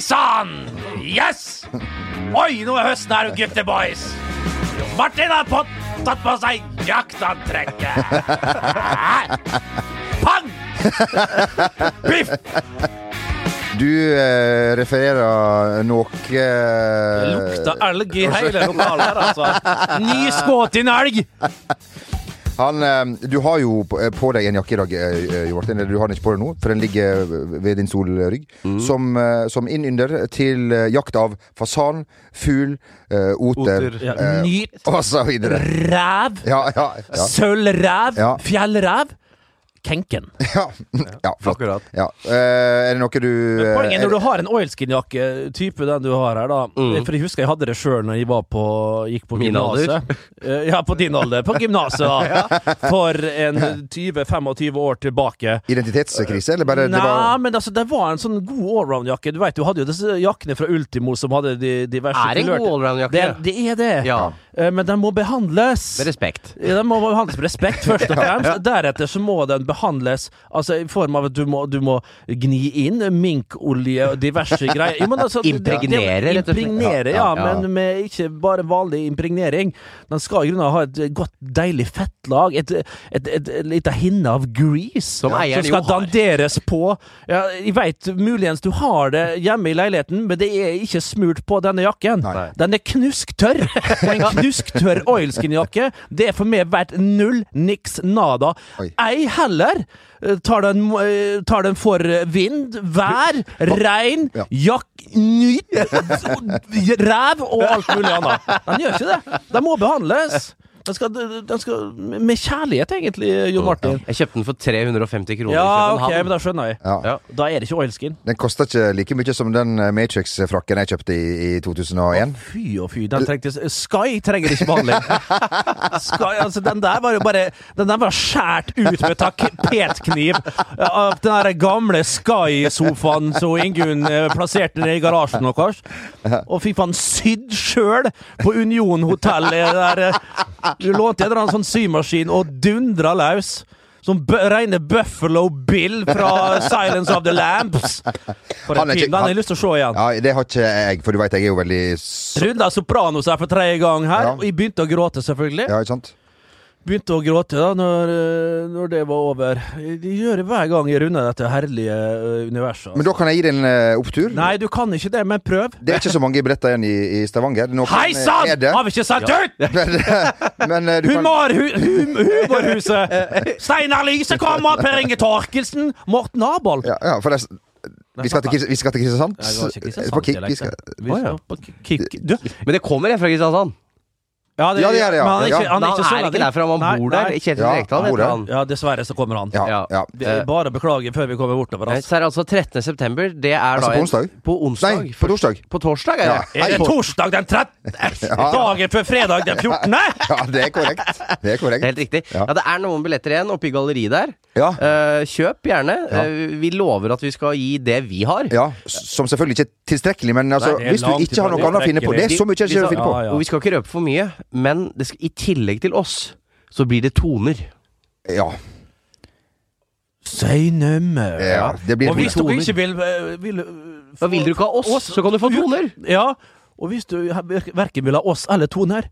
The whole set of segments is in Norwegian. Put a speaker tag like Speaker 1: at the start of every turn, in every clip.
Speaker 1: sann! Yes! Oi, nå er høsten her, gutteboys. Martin har på, tatt på seg jaktantrekket. Pang! Biff!
Speaker 2: Du eh, refererer noe eh,
Speaker 1: Lukta elg i hele lokalet her, altså. Ny skutt inn elg!
Speaker 2: Han, eh, du har jo på- eh, på deg en jakke i dag, eh, eh, Jo Martin. Eller du har den ikke på deg nå, for den ligger eh, ved din solrygg.
Speaker 1: Mm.
Speaker 2: Som, eh, som innynder til eh, jakt av fasan, fugl, eh, oter,
Speaker 3: Oter,
Speaker 1: Ja,
Speaker 2: eh,
Speaker 1: ny
Speaker 2: og så videre.
Speaker 1: ræv.
Speaker 2: Ja, ja, ja.
Speaker 1: Sølvræv.
Speaker 2: Ja.
Speaker 1: Fjellræv. Kenken.
Speaker 2: ja, mm, ja flott.
Speaker 3: Akkurat.
Speaker 2: Ja. Eh, er det noe du eh,
Speaker 1: Poenget er
Speaker 2: er- Mm.
Speaker 1: når du har en oilskinjakke, type den du har her, da For jeg husker jeg hadde det sjøl når jeg var på, gikk på
Speaker 3: Min alder.
Speaker 1: gymnaset. Eh, Ja, på din alder. På gymnaset, da. For en 20-25 år tilbake.
Speaker 2: Identitetskrise, eller bare det
Speaker 1: Nei,
Speaker 2: var
Speaker 1: men altså, det var en sånn god allround-jakke. Du vet, du hadde jo disse jakkene fra Ultimo som hadde de diverse
Speaker 3: Er en god
Speaker 1: kulørte-
Speaker 3: allround-jakke.
Speaker 1: Det, det er det.
Speaker 3: Ja.
Speaker 1: Eh, Men den må behandles.
Speaker 3: Med respekt.
Speaker 1: Ja, Den må behandles med respekt, først og fremst. Deretter så må den behandles Altså i form av at du må, du må gni inn minkolje og diverse greier. Jo, men altså, det- det-
Speaker 3: Impregnere, rett og slett.
Speaker 1: Impregnere, ja,
Speaker 3: Ja, ja.
Speaker 1: Men med ikke bare vanlig impregnering. Den skal i grunnen ha et godt, deilig fettlag. Et, et, et, et lite hinne av grease.
Speaker 3: Som eieren
Speaker 1: skal
Speaker 3: jo har.
Speaker 1: danderes på. Ja, jeg veit muligens du har det hjemme i leiligheten, men det er ikke smurt på denne jakken.
Speaker 2: Nei.
Speaker 1: Den er knusktørr! Og en knusktørr oilskinjakke, det er for meg verdt null, niks, nada.
Speaker 2: Oi.
Speaker 1: Ei heller eh, tar den, eh, tar den for eh, vind, vær, regn,
Speaker 2: Ja.
Speaker 1: jakk, nyt, ræv og alt mulig annet. Den gjør ikke det. Den må behandles. Den skal, den skal Med kjærlighet, egentlig, Jon Martin.
Speaker 3: Jeg kjøpte den for 350 kroner
Speaker 1: Ja,
Speaker 3: i
Speaker 1: ok, men
Speaker 3: København.
Speaker 1: da skjønner jeg.
Speaker 2: ja.
Speaker 3: Ja.
Speaker 1: Da er det ikke oilskin.
Speaker 2: Den kosta ikke like mye som den eh, Matrix-frakken jeg kjøpte i, i 2001.
Speaker 1: Fy og fy, den trengte Sky trenger ikke behandling. Sky, altså Den der var jo bare Den der var skjært ut med tapetkniv av den der gamle Sky-sofaen som Ingunn eh, plasserte ned i garasjen vår. Og fy faen, sydd sjøl på Union hotell. eh, Der eh, du lånte en eller annen sånn symaskin og dundra løs. Som bø- rene Buffalo Bill fra Silence of the Lambs. For
Speaker 2: Han
Speaker 1: en film.
Speaker 2: er ikke-
Speaker 1: Den har jeg lyst til å se igjen.
Speaker 2: Ja, det har ikke jeg, for du veit jeg er jo veldig s-
Speaker 1: Runda Sopranos her for tredje gang her,
Speaker 2: Ja.
Speaker 1: og jeg begynte å gråte, selvfølgelig.
Speaker 2: Ja, ikke sant?
Speaker 1: Begynte å gråte da når, eh, når det var over. De gjør det hver gang jeg runder dette herlige eh, universet.
Speaker 2: Men da kan jeg gi deg en eh, opptur.
Speaker 1: Nei, du kan ikke det, men prøv.
Speaker 2: Det er ikke så mange billetter igjen i, i Stavanger. Noen
Speaker 1: Hei sann!
Speaker 2: er det.
Speaker 1: Har vi ikke sendt ut?!
Speaker 2: Men, men eh, du kan
Speaker 1: Humor, hu, hum, humorhuset! Steinar Lise kommer! Per Inge Torkelsen! Morten Abold!
Speaker 2: ja, ja, forresten. Vi skal til, Kris- vi skal til Kristiansand. eh,
Speaker 1: Nei, det var ikke Kristiansand,
Speaker 2: På Kik-
Speaker 1: dialekt,
Speaker 2: vi skal,
Speaker 1: Vi
Speaker 3: Å, ja.
Speaker 1: skal på Ki- Kik- Du,
Speaker 3: Men det kommer jeg fra Kristiansand.
Speaker 1: ja,
Speaker 2: Ja, det er det, ja.
Speaker 1: men han er ikke, han
Speaker 2: Ja.
Speaker 3: Men
Speaker 1: er ikke
Speaker 3: han er
Speaker 1: sånn
Speaker 3: ikke derfra, men han bor der. Kjetil
Speaker 2: Ja,
Speaker 3: Rekdal
Speaker 2: han bor
Speaker 3: heter
Speaker 2: der.
Speaker 3: han.
Speaker 1: Ja, dessverre så kommer han.
Speaker 2: ja,
Speaker 3: Ja.
Speaker 2: ja.
Speaker 1: Det er Bare beklager før vi kommer bort
Speaker 3: Nei,
Speaker 1: oss.
Speaker 3: Så er det altså 13. september. Det er
Speaker 2: Altså
Speaker 3: da
Speaker 2: på
Speaker 3: en-
Speaker 2: onsdag?
Speaker 3: På onsdag.
Speaker 2: Nei, på torsdag.
Speaker 3: På torsdag er
Speaker 2: Ja.
Speaker 3: det.
Speaker 1: Er det
Speaker 2: Hei.
Speaker 1: torsdag den 13.? Dagen før fredag den 14.?
Speaker 2: ja, det er korrekt. Det er
Speaker 3: Det er
Speaker 2: korrekt.
Speaker 3: Helt riktig.
Speaker 2: Ja.
Speaker 3: Ja. det er noen billetter igjen oppe i galleriet der.
Speaker 2: Ja.
Speaker 3: Eh, kjøp gjerne. Eh, vi lover at vi skal gi det vi har.
Speaker 2: Ja, s- som selvfølgelig ikke er tilstrekkelig, men altså,
Speaker 1: Nei, det er
Speaker 2: hvis du
Speaker 1: langt
Speaker 2: ikke har noe
Speaker 1: ifra
Speaker 2: annet å finne på Det er så mye jeg ikke
Speaker 3: skal-
Speaker 2: finner på.
Speaker 1: Ja, ja.
Speaker 3: Og vi skal ikke røpe for mye, men det skal, i tillegg til oss så blir det toner.
Speaker 2: Ja,
Speaker 1: Si nummer.
Speaker 2: ja, det blir
Speaker 1: Og hvis dere
Speaker 3: toner.
Speaker 1: ikke vil, eh, vil eh,
Speaker 3: Da vil du ikke ha oss, så kan du få toner.
Speaker 1: Ja, og hvis du he- ver- verken vil ha oss eller toner,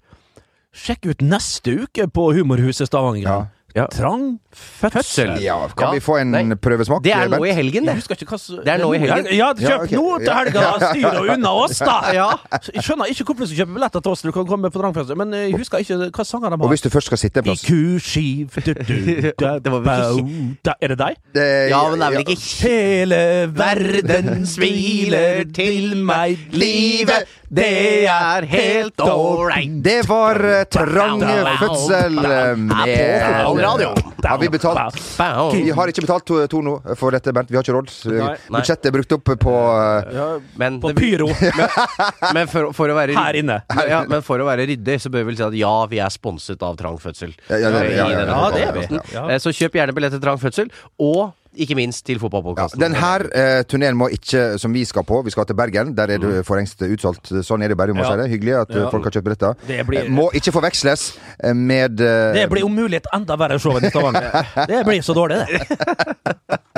Speaker 1: sjekk ut neste uke på Humorhuset Stavanger.
Speaker 3: Ja.
Speaker 1: Trang fødsel.
Speaker 2: ja, Kan
Speaker 3: Ja.
Speaker 2: vi få en
Speaker 3: Nei.
Speaker 2: prøvesmak?
Speaker 3: Det er nå i
Speaker 2: Bent?
Speaker 3: helgen,
Speaker 1: Jeg
Speaker 3: det.
Speaker 1: husker ikke hva s-
Speaker 3: Det er nå i helgen.
Speaker 1: Ja, kjøp
Speaker 2: Ja, ok.
Speaker 1: nå til
Speaker 2: Ja.
Speaker 1: helga! Styr deg unna oss, da! Jeg skjønner ikke hvorfor du skal kjøpe billetter til oss når du kan komme på Trang fødsel, men eh, jeg husker ikke hva sanger de har.
Speaker 2: Og hvis du først skal sitte en
Speaker 1: I
Speaker 2: plass
Speaker 1: kuskiv du, du, da,
Speaker 3: Det var vel
Speaker 1: da, Er det deg?
Speaker 2: Det-
Speaker 3: Ja, men det er vel ikke
Speaker 1: Hele verden smiler til meg, livet det er helt ålreit.
Speaker 2: Det var eh, trang fødsel eh, med
Speaker 3: radio.
Speaker 2: Har vi betalt Vi har ikke betalt to- Tono for dette, Bernt. Vi har ikke råd. Så
Speaker 1: Nei.
Speaker 2: Budsjettet er brukt opp på eh,
Speaker 3: Men,
Speaker 1: På
Speaker 3: det,
Speaker 1: pyro
Speaker 3: men, for, for å være
Speaker 1: her inne.
Speaker 3: ja, men for å være ryddig, så bør vi vel si at ja, vi er sponset av Trang fødsel.
Speaker 2: Ja, ja, det- ja, ja, ja,
Speaker 1: ja, det er vi. Ja.
Speaker 3: vi. Eh, Så kjøp gjerne billett til Trang fødsel, og ikke minst til
Speaker 2: ja,
Speaker 3: fotballpodkasten.
Speaker 2: den her eh, turneen må ikke, som vi skal på, vi skal til Bergen. Der er det for lengst utsolgt. Sånn er det bare, vi må
Speaker 1: Mm. Ja.
Speaker 2: si det. Hyggelig at eh,
Speaker 1: Ja.
Speaker 2: folk har kjøpt billetter.
Speaker 1: Det blir-
Speaker 2: Eh, Må ikke forveksles eh, med eh,
Speaker 1: Det blir om mulighet enda verre show enn i Stavanger. Det blir så dårlig, det.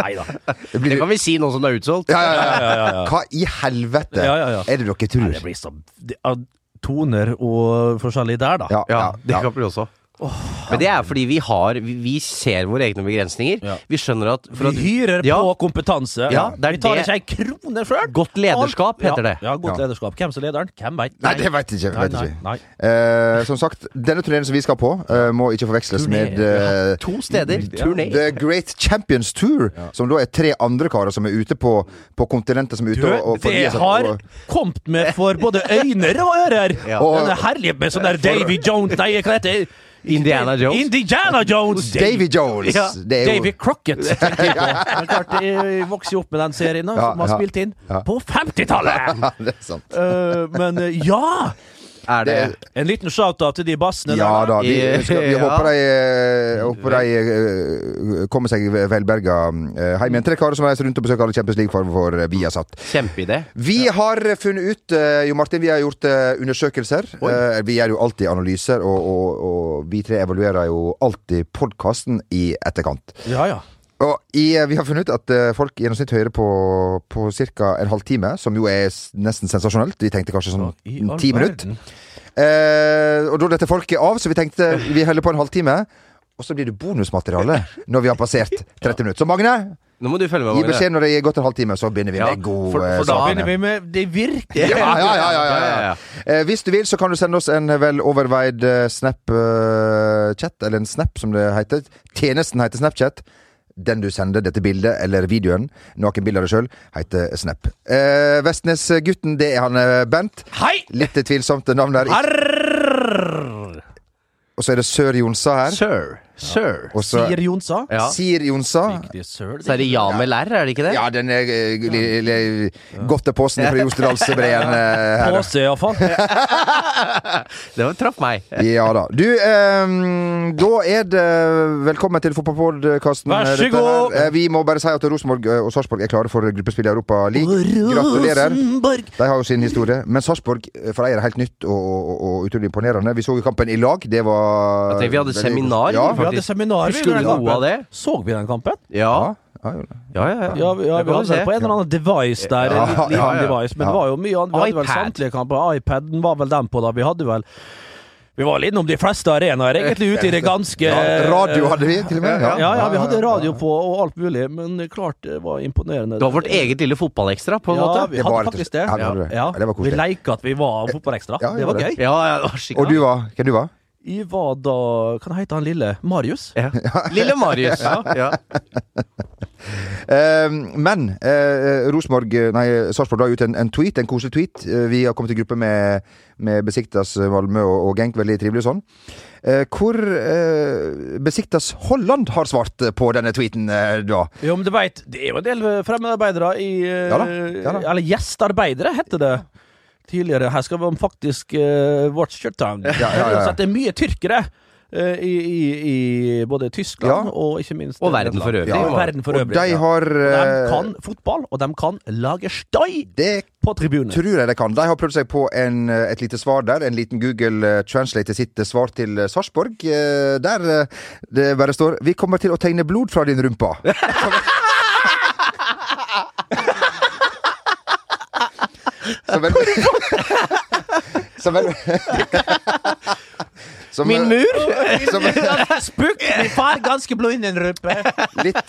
Speaker 1: Nei da.
Speaker 2: Det
Speaker 3: Det
Speaker 2: blir
Speaker 3: kan vi si nå som det er utsolgt.
Speaker 2: ja, ja, ja. Hva i helvete
Speaker 1: Ja, ja, ja.
Speaker 2: er det dere tror?
Speaker 1: Nei, det blir så det, ah, Toner og forskjellig der, da.
Speaker 2: Ja, ja,
Speaker 3: Ja, det
Speaker 2: ja.
Speaker 3: kan bli også. Men det er fordi vi har Vi, vi ser våre egne begrensninger.
Speaker 1: Ja.
Speaker 3: Vi skjønner at, for at
Speaker 1: vi hyrer
Speaker 3: ja,
Speaker 1: på kompetanse.
Speaker 3: Ja, det er
Speaker 1: vi tar
Speaker 3: det-
Speaker 1: ikke ei krone sjøl!
Speaker 3: Godt lederskap heter det.
Speaker 1: Ja, ja godt
Speaker 2: Ja.
Speaker 1: lederskap. Hvem som er lederen? Hvem veit?
Speaker 2: Nei, det veit jeg ikke.
Speaker 1: Nei,
Speaker 2: Vet
Speaker 1: nei,
Speaker 2: jeg ikke.
Speaker 1: nei.
Speaker 2: Eh, som sagt, denne turneen som vi skal på, eh, må ikke forveksles
Speaker 1: Turné.
Speaker 2: med eh,
Speaker 3: To steder. Turné.
Speaker 2: The Great Champions Tour, som da er tre andre karer som er ute på, på kontinentet som er ute
Speaker 1: Du,
Speaker 2: og, og
Speaker 1: det
Speaker 2: fornyer seg.
Speaker 1: har
Speaker 2: og-
Speaker 1: kommet med for både øyne og ører!
Speaker 3: Ja.
Speaker 1: Og det er herlig med sånn der Davy Jones Nei, hva heter det?
Speaker 3: Indiana Jones.
Speaker 1: Indiana Jones!
Speaker 2: Davy Jones!
Speaker 1: Ja,
Speaker 2: Det er jo
Speaker 1: Davy Crockett. tenkte jeg på. Men klart, jeg vokste jo opp med den serien da,
Speaker 2: Ja,
Speaker 1: som var
Speaker 2: ja,
Speaker 1: spilt inn
Speaker 2: ja.
Speaker 1: på 50-tallet!
Speaker 2: ja, det er sant.
Speaker 1: Eh, men eh, ja!
Speaker 3: Er det
Speaker 2: Det-
Speaker 1: En liten shout-out til de bassene
Speaker 2: Ja
Speaker 1: der.
Speaker 2: da, vi,
Speaker 3: I-
Speaker 2: vi skal, vi
Speaker 3: ja.
Speaker 2: håper de, eh, håper de eh, kommer seg velberga eh, hjem igjen. Tre karer som reiser rundt og besøker alle Champions League for, for eh, Viasat.
Speaker 3: kjempeidé?
Speaker 2: Vi har funnet ut, eh, Jo Martin, vi har gjort eh, undersøkelser. Eh, vi gjør jo alltid analyser, og, og, og vi tre evaluerer jo alltid podkasten i etterkant.
Speaker 1: Ja, ja.
Speaker 2: Og i, vi har funnet ut at eh, folk i gjennomsnitt hører på, på ca. en halvtime, som jo er s- nesten sensasjonelt. Vi tenkte kanskje sånn
Speaker 1: I all
Speaker 2: ti minutter.
Speaker 1: verden.
Speaker 2: Eh, og da dette folket er av, så vi tenkte vi holder på en halvtime. Og så blir det bonusmateriale når vi har passert 30 minutter. Så Magne,
Speaker 3: Nå må du følge med.
Speaker 2: gi
Speaker 3: Magne.
Speaker 2: beskjed når det er gått en halvtime, så begynner vi
Speaker 3: Ja,
Speaker 2: med god
Speaker 3: for- for
Speaker 2: eh,
Speaker 1: Da
Speaker 3: da
Speaker 2: sak.
Speaker 1: begynner vi med de virkelige.
Speaker 2: Ja, ja, ja, ja, ja,
Speaker 3: Ja,
Speaker 2: ja. Eh, hvis du vil, så kan du sende oss en vel overveid eh, Snap-chat, eller en Snap som det heter. Tjenesten heter Snapchat. Den du sender dette bildet, eller videoen, noen bilder av deg sjøl, heter Snap. Eh, Vestnes-gutten, det er han eh, Bent.
Speaker 1: Hei!
Speaker 2: Litt tvilsomt navn der.
Speaker 1: Arr!
Speaker 2: Og så er det Sør Jonsa her.
Speaker 3: Sir. Sir.
Speaker 2: Og så
Speaker 1: Sier Jonsa.
Speaker 3: Ja.
Speaker 2: Sier Jonsa.
Speaker 1: Riktig søl.
Speaker 3: Så er det ja med lær, er det ikke det?
Speaker 2: Ja, den er eh, li- li- godt til posen fra Jostedalsbreen eh, her.
Speaker 1: Påse, iallfall.
Speaker 3: Det var- traff meg.
Speaker 2: Ja da. Du, ehm, da er det velkommen til fotballpodkasten.
Speaker 1: Vær så
Speaker 2: dette her.
Speaker 1: god.
Speaker 2: Eh, Vi må bare si at Rosenborg eh, og Sarpsborg er klare for gruppespill i Europa League. Gratulerer.
Speaker 1: Rosenborg.
Speaker 2: De har jo sin historie. Men Sarpsborg eh, for de er det helt nytt og, og, og utrolig imponerende. Vi så jo kampen i lag. Det var
Speaker 3: Jeg tenker vi hadde
Speaker 2: veldig-
Speaker 3: seminar.
Speaker 2: Ja.
Speaker 1: Vi hadde seminar.
Speaker 3: Husker du noe av det?
Speaker 1: Så vi den kampen?
Speaker 3: Ja.
Speaker 2: Ja, jo da.
Speaker 3: Ja, ja, ja.
Speaker 1: Ja, vi- ja
Speaker 3: Det
Speaker 1: vi
Speaker 3: kan
Speaker 1: hadde det
Speaker 3: se.
Speaker 1: på en eller annen device der.
Speaker 2: Ja,
Speaker 1: en liten
Speaker 2: ja,
Speaker 1: liten
Speaker 3: ja.
Speaker 1: device, men det var jo mye annet. Vi hadde vel
Speaker 3: iPad.
Speaker 1: samtlige kamper. iPaden var vel den på da. Vi hadde vel Vi var vel innom de fleste arenaer, egentlig, ute i det ganske
Speaker 2: ja, radio hadde vi, til og med.
Speaker 1: Ja, ja, vi hadde radio på og alt mulig, men klart det var imponerende.
Speaker 3: Det var vårt eget lille fotballekstra, på en
Speaker 1: ja,
Speaker 3: måte.
Speaker 1: vi
Speaker 2: Det
Speaker 1: hadde
Speaker 2: var rett og
Speaker 1: faktisk det.
Speaker 2: slett- Ja, vi hadde det.
Speaker 1: Ja,
Speaker 2: Ja, det var
Speaker 1: vi
Speaker 2: koselig.
Speaker 1: leika at vi var fotballekstra.
Speaker 2: Ja, vi
Speaker 1: det var
Speaker 2: gjorde
Speaker 1: gøy.
Speaker 2: det.
Speaker 3: Ja, ja, det var skikkelig.
Speaker 2: Og du var? Hvem du var?
Speaker 1: Jeg var da Hva heter han lille? Marius?
Speaker 3: Ja. Lille Marius. Ja, ja.
Speaker 2: Eh, men eh, Rosenborg eh, Nei, Sarpsborg la ut en, en tweet, en koselig tweet. Eh, vi har kommet i gruppe med, med Besiktas eh, Malmö og, og Genk. Veldig trivelig og sånn. Eh, hvor eh, Besiktas Holland har svart eh, på denne tweeten, eh, da.
Speaker 1: Jo, men du vet, det er jo en del eh, fremmedarbeidere i eh,
Speaker 2: Ja da, ja da.
Speaker 1: Eller gjestarbeidere, heter det tidligere. Her skal man faktisk eh, watch your tongue.
Speaker 2: ja, ja, ja.
Speaker 1: Så at det er mye tyrkere. eh, I, i, I både Tyskland
Speaker 2: Ja.
Speaker 1: og ikke minst
Speaker 3: Og verden for øvrig.
Speaker 1: Ja, og verden for
Speaker 2: Og
Speaker 1: øvrig.
Speaker 2: de
Speaker 1: ja.
Speaker 2: har
Speaker 1: De
Speaker 2: eh,
Speaker 1: kan fotball, og de kan lage støy
Speaker 2: Det
Speaker 1: på tribunen.
Speaker 2: tror jeg de kan. De har prøvd seg på en, eh, et lite svar der. En liten Google eh, translate sitt eh, svar til eh, Sarpsborg. eh, der eh, det bare står 'Vi kommer til å tegne blod fra din rumpa'. Så vel Så vel Som, eh,
Speaker 3: Min mur!
Speaker 2: Som,
Speaker 1: Spuk! Min far ganske blå innen rumpe.
Speaker 2: Litt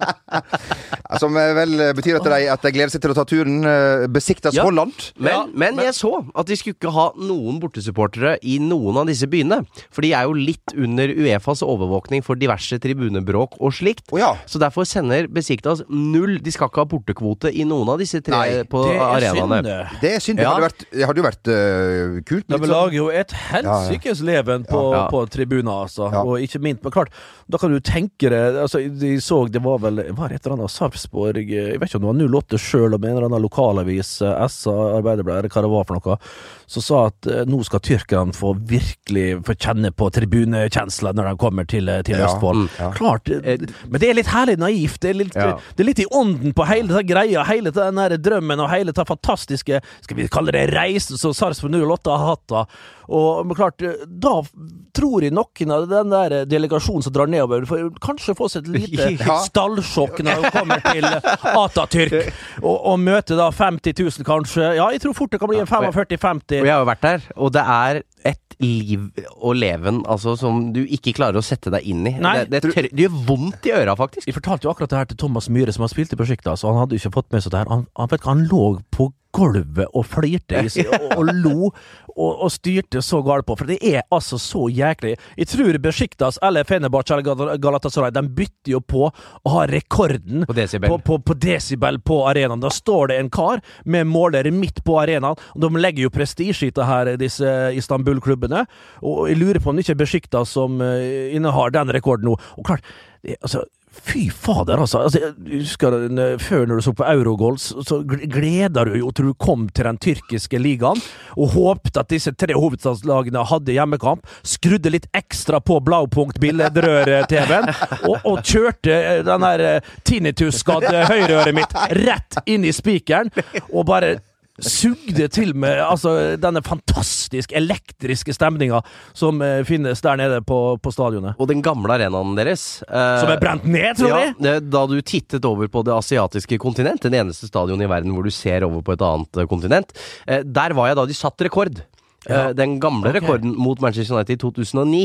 Speaker 2: Som eh, vel betyr at de, at de gleder seg til å ta turen. eh, Besiktas
Speaker 3: Ja.
Speaker 2: Holland.
Speaker 1: Ja,
Speaker 3: Men, men jeg så at de skulle ikke ha noen bortesupportere i noen av disse byene. For de er jo litt under Uefas overvåkning for diverse tribunebråk og slikt.
Speaker 2: Å ja.
Speaker 3: Så derfor sender Besiktas null. De skal ikke ha bortekvote i noen av disse tre
Speaker 2: Nei,
Speaker 3: på
Speaker 1: Det er synd,
Speaker 3: arenaene.
Speaker 1: det.
Speaker 2: Det er synd. Det
Speaker 3: Ja.
Speaker 2: hadde vært, det hadde jo vært øh, kult.
Speaker 1: De
Speaker 2: litt sånn.
Speaker 1: lager jo et helsikes leven på,
Speaker 3: Ja.
Speaker 1: på tribuner, altså.
Speaker 2: Ja.
Speaker 1: Og ikke minst, men klart, da kan du tenke deg altså, De så det var vel var det et eller annet Sarps Sarpsborg eh, Jeg vet ikke om det var 08 sjøl, om en eller annen lokalavis, eh, SA, Arbeiderbladet, eller hva det var for noe, som sa at eh, nå skal tyrkerne få virkelig få kjenne på tribunekjensla når de kommer til, eh, til
Speaker 2: Ja,
Speaker 1: Østfold.
Speaker 2: ja.
Speaker 1: Klart. eh, Men det er litt herlig naivt. Det er litt,
Speaker 3: Ja.
Speaker 1: det er litt i ånden på hele den greia, hele den der drømmen og hele den fantastiske Skal vi kalle det reisen som Sarpsborg 08 har hatt, da. Og men klart, eh, da f- tror jeg noen av den der delegasjonen som drar nedover, får kanskje få seg et lite
Speaker 2: Ja.
Speaker 1: stallsjokk når de kommer til Atatürk og, og møter da 50 000, kanskje. Ja, jeg tror fort det kan bli en
Speaker 3: og jeg-
Speaker 1: 45-50.
Speaker 3: Og jeg har jo vært der, og det er et liv og leven altså, som du ikke klarer å sette deg inn i.
Speaker 1: Nei.
Speaker 3: det, det, tør, det gjør vondt i øra, faktisk.
Speaker 1: Jeg fortalte jo akkurat det her til Thomas Myhre, som har spilt i prosjektet. Altså, han hadde jo ikke fått med seg det her. Han, han, vet ikke, han lå på gulvet og flirte i seg, og, og lo, og, og styrte så galt på. For det er altså så jæklig. Jeg tror Besjiktas eller Fenerbahçe eller Gal- Galatasaray de bytter jo på å ha rekorden
Speaker 3: På desibel.
Speaker 1: På, på, på desibel på arenaen. Da står det en kar med måler midt på arenaen. Og de legger jo prestisje i det her, disse Istanbul-klubbene. Og jeg lurer på om det ikke er Besjikta som eh, innehar den rekorden nå. Og klart, det, altså Fy fader, altså. altså jeg husker den, eh, Før, når du så på Eurogold, så, så gl- gleda du jo til du kom til den tyrkiske ligaen, og håpte at disse tre hovedstadslagene hadde hjemmekamp. Skrudde litt ekstra på Blaupunkt-billedrør-TV-en, og, og kjørte eh, den der eh, tinnitus-skadde høyreøret mitt rett inn i spikeren, og bare sugde til med altså, denne fantastisk elektriske stemninga som eh, finnes der nede på, på stadionet.
Speaker 3: Og den gamle arenaen deres eh,
Speaker 1: Som er brent ned, tror jeg!
Speaker 3: ja, det- Da du tittet over på det asiatiske kontinent, den eneste stadion i verden hvor du ser over på et annet eh, kontinent, eh, der var jeg da de satt rekord. Eh, Den gamle
Speaker 1: Ok.
Speaker 3: rekorden mot Manchester United i 2009.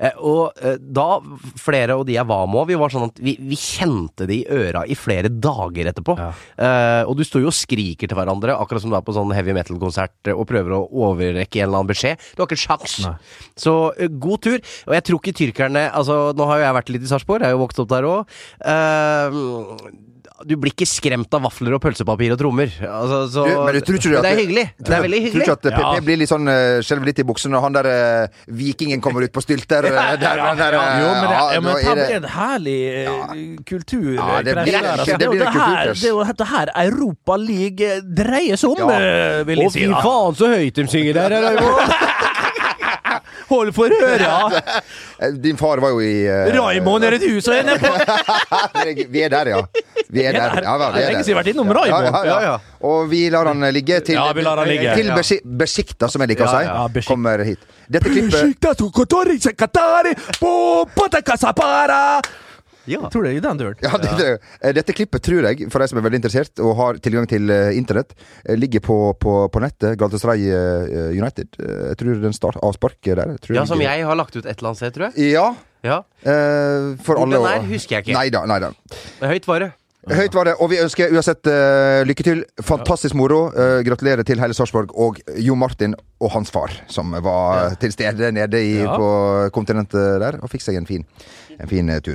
Speaker 3: Eh, Og eh, da, flere av de jeg var med, vi var sånn at vi, vi kjente det i øra i flere dager etterpå. Eh, Og du står jo og skriker til hverandre, akkurat som du er på sånn heavy metal-konsert eh, og prøver å overrekke en eller annen beskjed. Du har ikke sjans.
Speaker 1: Nei.
Speaker 3: Så eh, god tur. Og jeg tror ikke tyrkerne Altså, nå har jo jeg vært litt i Sarpsborg, jeg har jo vokst opp der òg. du blir ikke skremt av vafler og pølsepapir og trommer. Altså, så,
Speaker 2: Du, men du tror ikke du at
Speaker 3: det er hyggelig. Det er veldig
Speaker 2: Tror
Speaker 3: hyggelig.
Speaker 2: ikke at PP
Speaker 1: Ja.
Speaker 2: blir litt sånn eh, skjelver litt i buksen når han der eh, vikingen kommer ut på stylter? eh, der, der, der, eh,
Speaker 1: Jo, men det,
Speaker 2: ja,
Speaker 1: ja, men
Speaker 2: nå
Speaker 1: det
Speaker 2: er det-
Speaker 1: er en herlig eh, kultur.
Speaker 2: Ja, det
Speaker 1: eh,
Speaker 2: blir-
Speaker 1: greie der, altså.
Speaker 2: det blir
Speaker 1: er jo
Speaker 2: en kulturkrasj.
Speaker 1: her- Det er jo dette her Europa League eh, dreier seg om,
Speaker 2: Ja.
Speaker 1: eh, vil jeg si. da.
Speaker 3: så høyt de synger der,
Speaker 1: Hold for øra!
Speaker 2: Eh, Din far var jo i eh,
Speaker 1: Raymond er et hus og en er på
Speaker 2: Vi er der, ja. Vi er der. Ja, ja, vi er
Speaker 1: Lenge siden
Speaker 2: der.
Speaker 1: vi har vært innom Raymond.
Speaker 2: Ja, ja,
Speaker 3: Ja,
Speaker 2: ja.
Speaker 3: ja.
Speaker 2: Og vi lar han ligge til,
Speaker 1: Ja, vi lar han ligge.
Speaker 2: til
Speaker 1: Ja.
Speaker 2: Beshi- Besikta, som jeg liker å
Speaker 3: Ja,
Speaker 2: si,
Speaker 1: ja, Besikta.
Speaker 2: kommer hit. Dette klippet
Speaker 1: Jeg tror det er i den døren.
Speaker 2: ja, dette, eh, dette klippet tror jeg, for de som er veldig interessert og har tilgang til eh, internett, eh, ligger på, på, på nettet. Galatasaray eh, United. Eh, Jeg tror den start avsparket der. tror
Speaker 3: Ja, som
Speaker 2: ligger-
Speaker 3: jeg har lagt ut et eller annet sted, tror jeg.
Speaker 2: Ja.
Speaker 3: Ja.
Speaker 2: eh, for
Speaker 3: Hvor
Speaker 2: alle
Speaker 3: den
Speaker 2: å-
Speaker 3: er, husker jeg ikke.
Speaker 2: Neida, neida.
Speaker 3: Høyt var det.
Speaker 2: Høyt var det, og vi ønsker uansett eh, lykke til. Fantastisk moro. Eh, gratulerer til hele Sarpsborg og Jo Martin og hans far, som var eh, til stede nede i,
Speaker 1: Ja.
Speaker 2: på kontinentet der og fikk seg en fin, en fin eh, tur.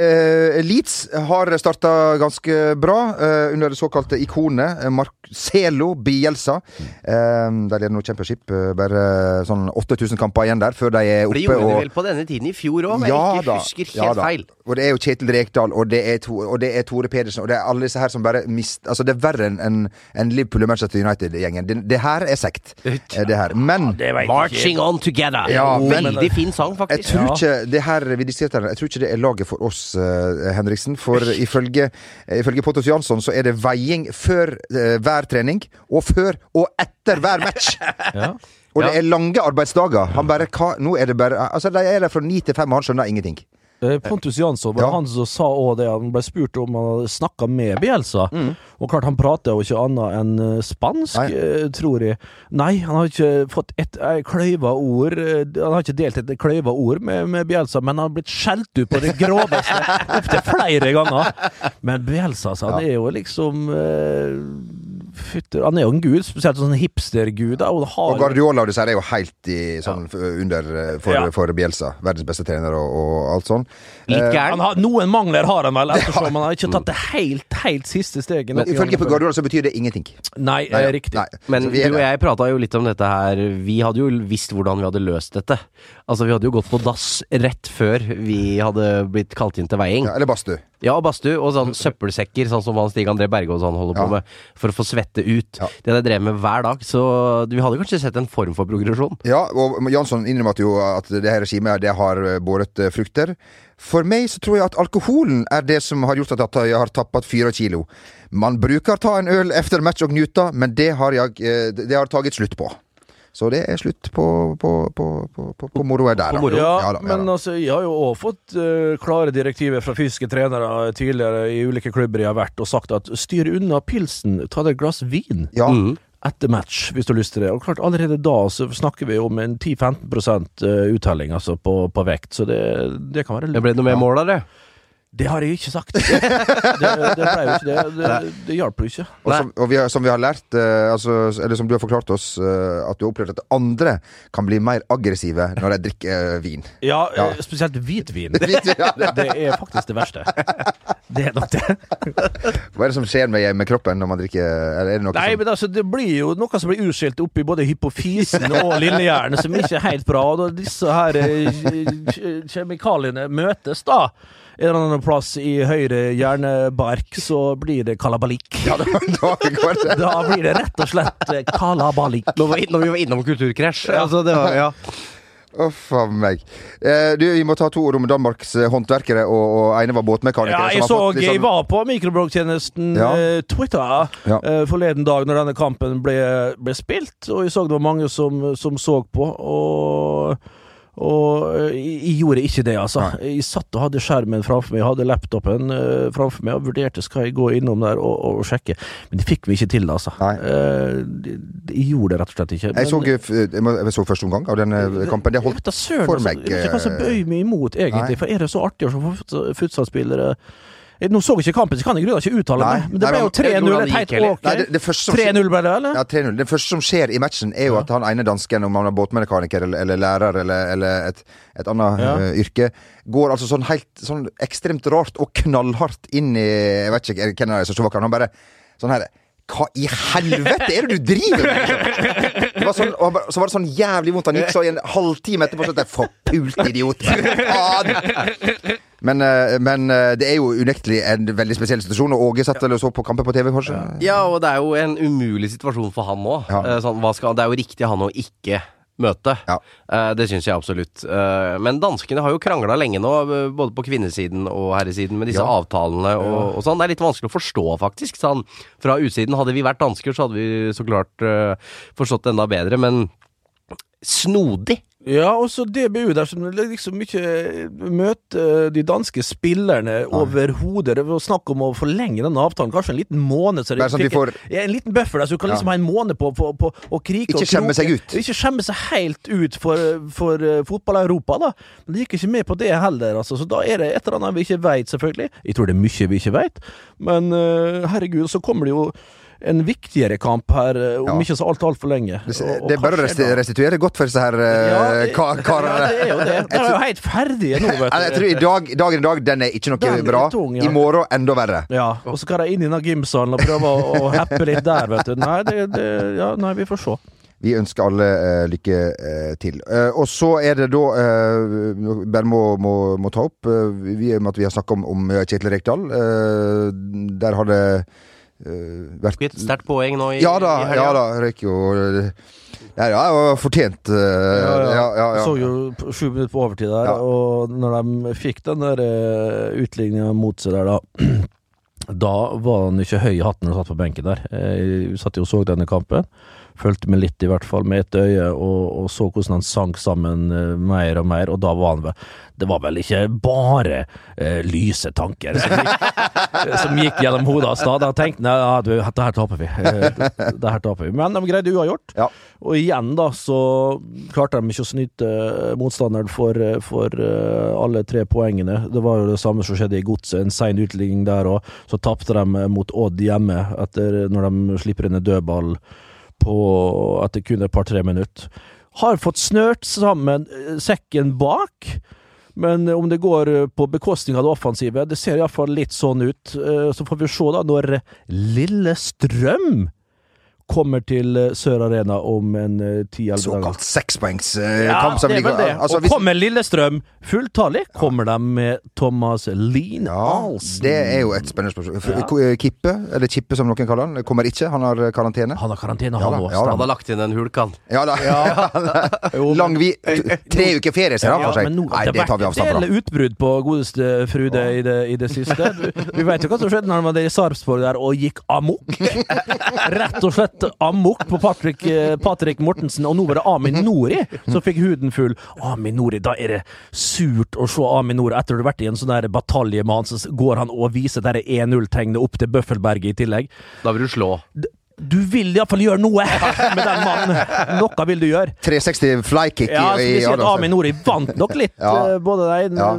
Speaker 2: Eh, Leeds har starta ganske bra eh, under det såkalte ikonet eh, Marcelo Bielsa. Eh, de leder nå Championship. Eh, bare sånn 8000 kamper igjen der før de er oppe.
Speaker 3: For det gjorde de
Speaker 2: og-
Speaker 3: vel på denne tiden i fjor òg, om jeg ikke husker helt
Speaker 2: ja da.
Speaker 3: feil.
Speaker 2: Og det er jo Kjetil Rekdal, og det er, to, og det er Tore Pedersen, og det er alle disse her som bare mist... Altså, det er verre enn enn- enn Liverpool og Manchester United-gjengen. Det, det her er sekt. eh, Det her. Men
Speaker 3: Marching on together.
Speaker 2: Ja, men-
Speaker 3: Veldig fin
Speaker 2: jeg
Speaker 3: sang, faktisk.
Speaker 2: tror ikke det her vi diskuterte her, jeg tror ikke det er laget for oss, eh, Henriksen. For ifølge, eh, ifølge Pottos Jansson så er det veiing før eh, hver trening, og før og etter hver match. Og det
Speaker 3: Ja.
Speaker 2: er lange arbeidsdager. Han bare, hva, nå er det bare Altså, De er der fra ni til fem, og han skjønner ingenting.
Speaker 1: Eh, Pontus Jansson var
Speaker 2: Ja.
Speaker 1: han som sa også det. Han ble spurt om han hadde snakka med Bielsa. Og klart, han prater jo ikke annet enn eh, spansk,
Speaker 2: Mm. Nei.
Speaker 1: eh, tror jeg. Nei, han har ikke fått et eh, kløyva ord eh, Han har ikke delt et kløyva ord med, med Bielsa, men han har blitt skjelt ut på det groveste opptil flere ganger. Men Bielsa, altså, han er jo liksom eh, Fytter Han er jo en gud, spesielt sånn hipstergud. da, Og, har
Speaker 2: Og Guardiola og disse her er jo helt i, sånn, f- under eh, for,
Speaker 1: Ja.
Speaker 2: for Bielsa. Verdens beste trener og, og alt sånn.
Speaker 3: Litt
Speaker 1: han
Speaker 3: gæren.
Speaker 1: har, noen mangler har han vel, ettersom han har ikke tatt det helt, helt siste steget.
Speaker 2: Men ifølge på Guardiola så betyr det ingenting.
Speaker 1: Nei,
Speaker 2: Nei,
Speaker 1: eh,
Speaker 2: ja.
Speaker 1: riktig.
Speaker 2: Nei.
Speaker 3: Men
Speaker 2: Så
Speaker 3: du
Speaker 2: vi er
Speaker 3: og
Speaker 2: der.
Speaker 3: jeg prata jo litt om dette her. Vi hadde jo visst hvordan vi hadde løst dette. Altså, vi hadde jo gått på dass rett før vi hadde blitt kalt inn til veiing.
Speaker 2: ja, Eller Bastu.
Speaker 3: Ja, og badstue og sånn søppelsekker, sånn som han Stig André Berge og sånn holder
Speaker 2: Ja.
Speaker 3: på med, for å få svette ut.
Speaker 2: Ja.
Speaker 3: Det hadde jeg drevet med hver dag, så vi hadde kanskje sett en form for progresjon.
Speaker 2: Ja, og Jansson innrømmet jo at det her regimet det har eh, båret eh, frukter. For meg så tror jeg at alkoholen er det som har gjort at jeg har tappet fire kilo. Man bruker ta en øl etter match og gnuta, men det har jeg eh, det har taget slutt på. Så det er slutt på, på, på, på, på, på moroa der, da.
Speaker 1: Ja,
Speaker 2: Ja da, ja
Speaker 1: men
Speaker 2: da.
Speaker 1: altså, jeg har jo òg fått eh, klare direktiver fra fysiske trenere tidligere i ulike klubber jeg har vært, og sagt at styr unna pilsen, ta deg et glass vin
Speaker 2: Ja,
Speaker 1: etter match hvis du har lyst til det. Og klart, allerede da så snakker vi om en 10-15 eh, uttelling altså, på, på vekt, så det, det kan være
Speaker 3: Det ble noe mer mål av det.
Speaker 1: Det har jeg ikke sagt! Det, det ble jo ikke det. Det, det hjalp jo ikke.
Speaker 2: Og, som, og vi har, som vi har lært, eh, altså, eller som du har forklart oss, eh, at du har opplevd at andre kan bli mer aggressive når de drikker eh, vin.
Speaker 1: Ja,
Speaker 2: Ja.
Speaker 1: eh, spesielt hvitvin.
Speaker 2: Ja, det-
Speaker 1: Det er faktisk det verste. Det er nok det.
Speaker 2: Hva er det som skjer med, med kroppen når man drikker eller er det noe
Speaker 3: liksom.
Speaker 1: Nei,
Speaker 2: som,
Speaker 1: men altså, det blir jo noe som blir utskilt oppi både hypofisen og lillehjernen, som ikke er helt bra. Og da disse her eh, kje- kjemikaliene møtes, da, en eller annen plass i høyre hjernebark, så blir det kalabalik.
Speaker 2: ja, da, da går det.
Speaker 1: Da blir det rett og slett eh, kalabalik.
Speaker 3: Når vi var innom, vi var innom kulturkrasj. Altså, det var, ja.
Speaker 2: Uff a meg. Eh, du, vi må ta to ord om Danmarks eh, håndverkere, og, og ene var båtmekaniker.
Speaker 1: Ja,
Speaker 2: som
Speaker 1: jeg
Speaker 2: har
Speaker 1: så
Speaker 2: fått litt
Speaker 1: jeg
Speaker 2: sånn-
Speaker 1: var på mikrobloggtjenesten
Speaker 2: Ja.
Speaker 1: eh, Twitter
Speaker 2: Ja.
Speaker 1: eh, forleden dag når denne kampen ble, ble spilt, og jeg så det var mange som, som så på, og, og eh, jeg, jeg gjorde ikke det, altså. Jeg satt og hadde skjermen framfor meg, jeg hadde laptopen eh, framfor meg og vurderte skal jeg gå innom der og, og sjekke, men det fikk vi ikke til, altså.
Speaker 2: Nei.
Speaker 1: Eh, de- de- jeg gjorde det rett og slett ikke.
Speaker 2: Jeg
Speaker 1: men-
Speaker 2: så, eh, f- jeg må- jeg så første omgang av den eh, kampen. Det
Speaker 1: jeg
Speaker 2: holdt
Speaker 1: vet da søren,
Speaker 2: for
Speaker 1: altså,
Speaker 2: meg,
Speaker 1: Jeg vet ikke hva som
Speaker 2: eh,
Speaker 1: bøyer meg imot, egentlig.
Speaker 2: nei.
Speaker 1: For er det så artig å se fut- futsalspillere Jeg- Nå så jeg ikke kampen, så kan jeg i grunnen ikke uttale
Speaker 2: Nei.
Speaker 1: meg. Men det
Speaker 2: Nei,
Speaker 1: ble
Speaker 2: men-
Speaker 1: jo 3-0.
Speaker 3: hvordan
Speaker 1: Et
Speaker 3: det
Speaker 1: helt
Speaker 3: gikk, eller?
Speaker 1: ok.
Speaker 2: Nei, det- det første som-
Speaker 1: 3-0 ble det, eller?
Speaker 2: ja, 3-0. Det første som skjer i matchen, er jo at han ene dansken, om han er båtmekaniker eller, eller lærer eller, eller et, et annet
Speaker 1: Ja.
Speaker 2: eh, yrke, går altså sånn helt sånn ekstremt rart og knallhardt inn i Jeg vet ikke hvem det er som står bak han. Han bare sånn her Hva i helvete er det du driver med?! liksom? Det var sånn, og han bare- så var det sånn jævlig vondt. Han gikk så i en halvtime etterpå sånn at jeg Forpult idiot! Faen!» Men, eh, men eh, det er jo unektelig en veldig spesiell situasjon, og Åge satt vel og så på kampen på TV, kanskje?
Speaker 3: ja, og det er jo en umulig situasjon for han nå.
Speaker 2: Ja.
Speaker 3: Eh, Sånn, hva skal, det er jo riktig han å ikke møte.
Speaker 2: Ja.
Speaker 3: Eh, det syns jeg absolutt. Eh, men danskene har jo krangla lenge nå, eh, både på kvinnesiden og herresiden, med disse
Speaker 2: Ja.
Speaker 3: avtalene og, og sånn. Det er litt vanskelig å forstå, faktisk. Sånn, fra utsiden, hadde vi vært dansker, så hadde vi så klart eh, forstått det enda bedre, men snodig.
Speaker 1: Ja, og så DBU der som liksom ikke møter eh, de danske spillerne overhodet. Det var snakk om å forlenge denne avtalen, kanskje en liten måned. Så de
Speaker 2: Bare sånn at
Speaker 1: fikk
Speaker 2: de får-
Speaker 1: en, en liten buffer der, så du kan liksom ha en måned på, på, på å krike
Speaker 2: Ikke
Speaker 1: og kroke.
Speaker 2: skjemme seg ut.
Speaker 1: Ikke skjemme seg helt ut for, for eh, fotball-Europa, da. Men de gikk ikke med på det heller, altså. Så da er det et eller annet vi ikke veit, selvfølgelig. Jeg tror det er mye vi ikke veit, men eh, herregud, så kommer det jo en viktigere kamp her, eh, om
Speaker 2: Ja.
Speaker 1: ikke så alt altfor lenge.
Speaker 2: Det,
Speaker 1: Og- og
Speaker 2: Eh, det er bare å
Speaker 1: hva skjer
Speaker 2: resti-
Speaker 1: da?
Speaker 2: restituere godt for disse her eh,
Speaker 1: det-
Speaker 2: ka-
Speaker 1: Ja, det er jo
Speaker 2: karene.
Speaker 1: det. De er jo helt ferdige nå, vet
Speaker 2: Nei, Jeg tror i dag, dagen i dag, den er ikke noe
Speaker 1: Den er
Speaker 2: bra.
Speaker 1: tung, ja.
Speaker 2: I morgen enda verre.
Speaker 1: Ja, og så skal de inn i den gymsalen og prøve å, å happe litt der, vet du. Nei, det, det Ja, nei, vi får se.
Speaker 2: Vi ønsker alle eh, lykke eh, til. Eh, og så er det da eh, Bare må, må, må ta opp eh, vi, I og med at vi har snakka om, om Kjetil Rekdal. eh, der har det eh, vært
Speaker 3: Et sterkt poeng nå i,
Speaker 2: Ja da,
Speaker 3: i helga.
Speaker 2: ja da. Røyk jo eh, Ja, ja, det var fortjent. eh, ja, ja, ja.
Speaker 1: Så jo p- sju minutter på overtid der,
Speaker 2: Ja.
Speaker 1: og når de fikk den der eh, utligninga mot seg der, da Da var han ikke høy i hatten når han satt på benken der. Eh, Jeg satt jo og så denne kampen. Fulgte med litt, i hvert fall, med ett øye, og, og så hvordan han sank sammen eh, mer og mer, og da var han vel Det var vel ikke bare eh, lyse tanker som gikk, som gikk gjennom hodet hans da. Da tenkte han ja, du, dette her taper vi. Eh, Det her taper vi. Men de greide uavgjort.
Speaker 2: Ja.
Speaker 1: Og igjen da, så klarte de ikke å snyte eh, motstanderen for, eh, for eh, alle tre poengene. Det var jo det samme som skjedde i Godset, en sein utligning der òg. Så tapte de eh, mot Odd hjemme, etter, når de slipper inn en dødball på, etter kun et par-tre minutter. Har fått snørt sammen eh, sekken bak. Men om det går eh, på bekostning av det offensive, det ser iallfall litt sånn ut. Eh, Så får vi se da når Lillestrøm kommer til eh, Sør Arena om en eh, 10-11 dager.
Speaker 2: Såkalt eh,
Speaker 1: Ja,
Speaker 2: sekspoengskamp.
Speaker 1: det er vel det.
Speaker 2: Altså,
Speaker 1: Og
Speaker 2: hvis-
Speaker 1: kommer Lillestrøm fulltallig, kommer de med Thomas Lean Ahlsen.
Speaker 2: det er jo et spennende spørsmål. F-
Speaker 1: Ja.
Speaker 2: Ko- eh, Kippe, eller Kippe som noen kaller han, kommer ikke. Han har eh, karantene.
Speaker 1: Han har karantene,
Speaker 2: Ja
Speaker 1: han
Speaker 2: da,
Speaker 1: òg.
Speaker 2: ja da.
Speaker 3: Han har lagt inn en hulk, han.
Speaker 2: Ja da. Lang vi,
Speaker 1: Eh,
Speaker 2: t- tre uker ferie, ser han for seg.
Speaker 1: men nå
Speaker 2: Nei,
Speaker 1: har
Speaker 2: det tar vi
Speaker 1: vært en
Speaker 2: avstand fra.
Speaker 1: del utbrudd på godeste Frude i, det, i det siste. Du, vi vet jo hva som skjedde når han var der i Sarpsborg der og gikk amok. Rett og slett amok på Patrick, eh, Patrick Mortensen, og nå var det Amin Nori som fikk huden full. Amin Nori, da er det surt å se Amin Nori etter du har vært i en sånn der batalje med han, så går han og viser der 1-0-tegnet opp til Bøffelberget i tillegg.
Speaker 3: Da vil du slå.
Speaker 1: Du vil iallfall gjøre noe med den mannen! Noe vil du gjøre.
Speaker 2: 360 flykick i,
Speaker 1: Ja, altså,
Speaker 2: i
Speaker 1: spesielt
Speaker 2: Adamsen.
Speaker 1: Amin Nori vant nok litt,
Speaker 2: Ja.
Speaker 1: eh, både der,
Speaker 2: Ja.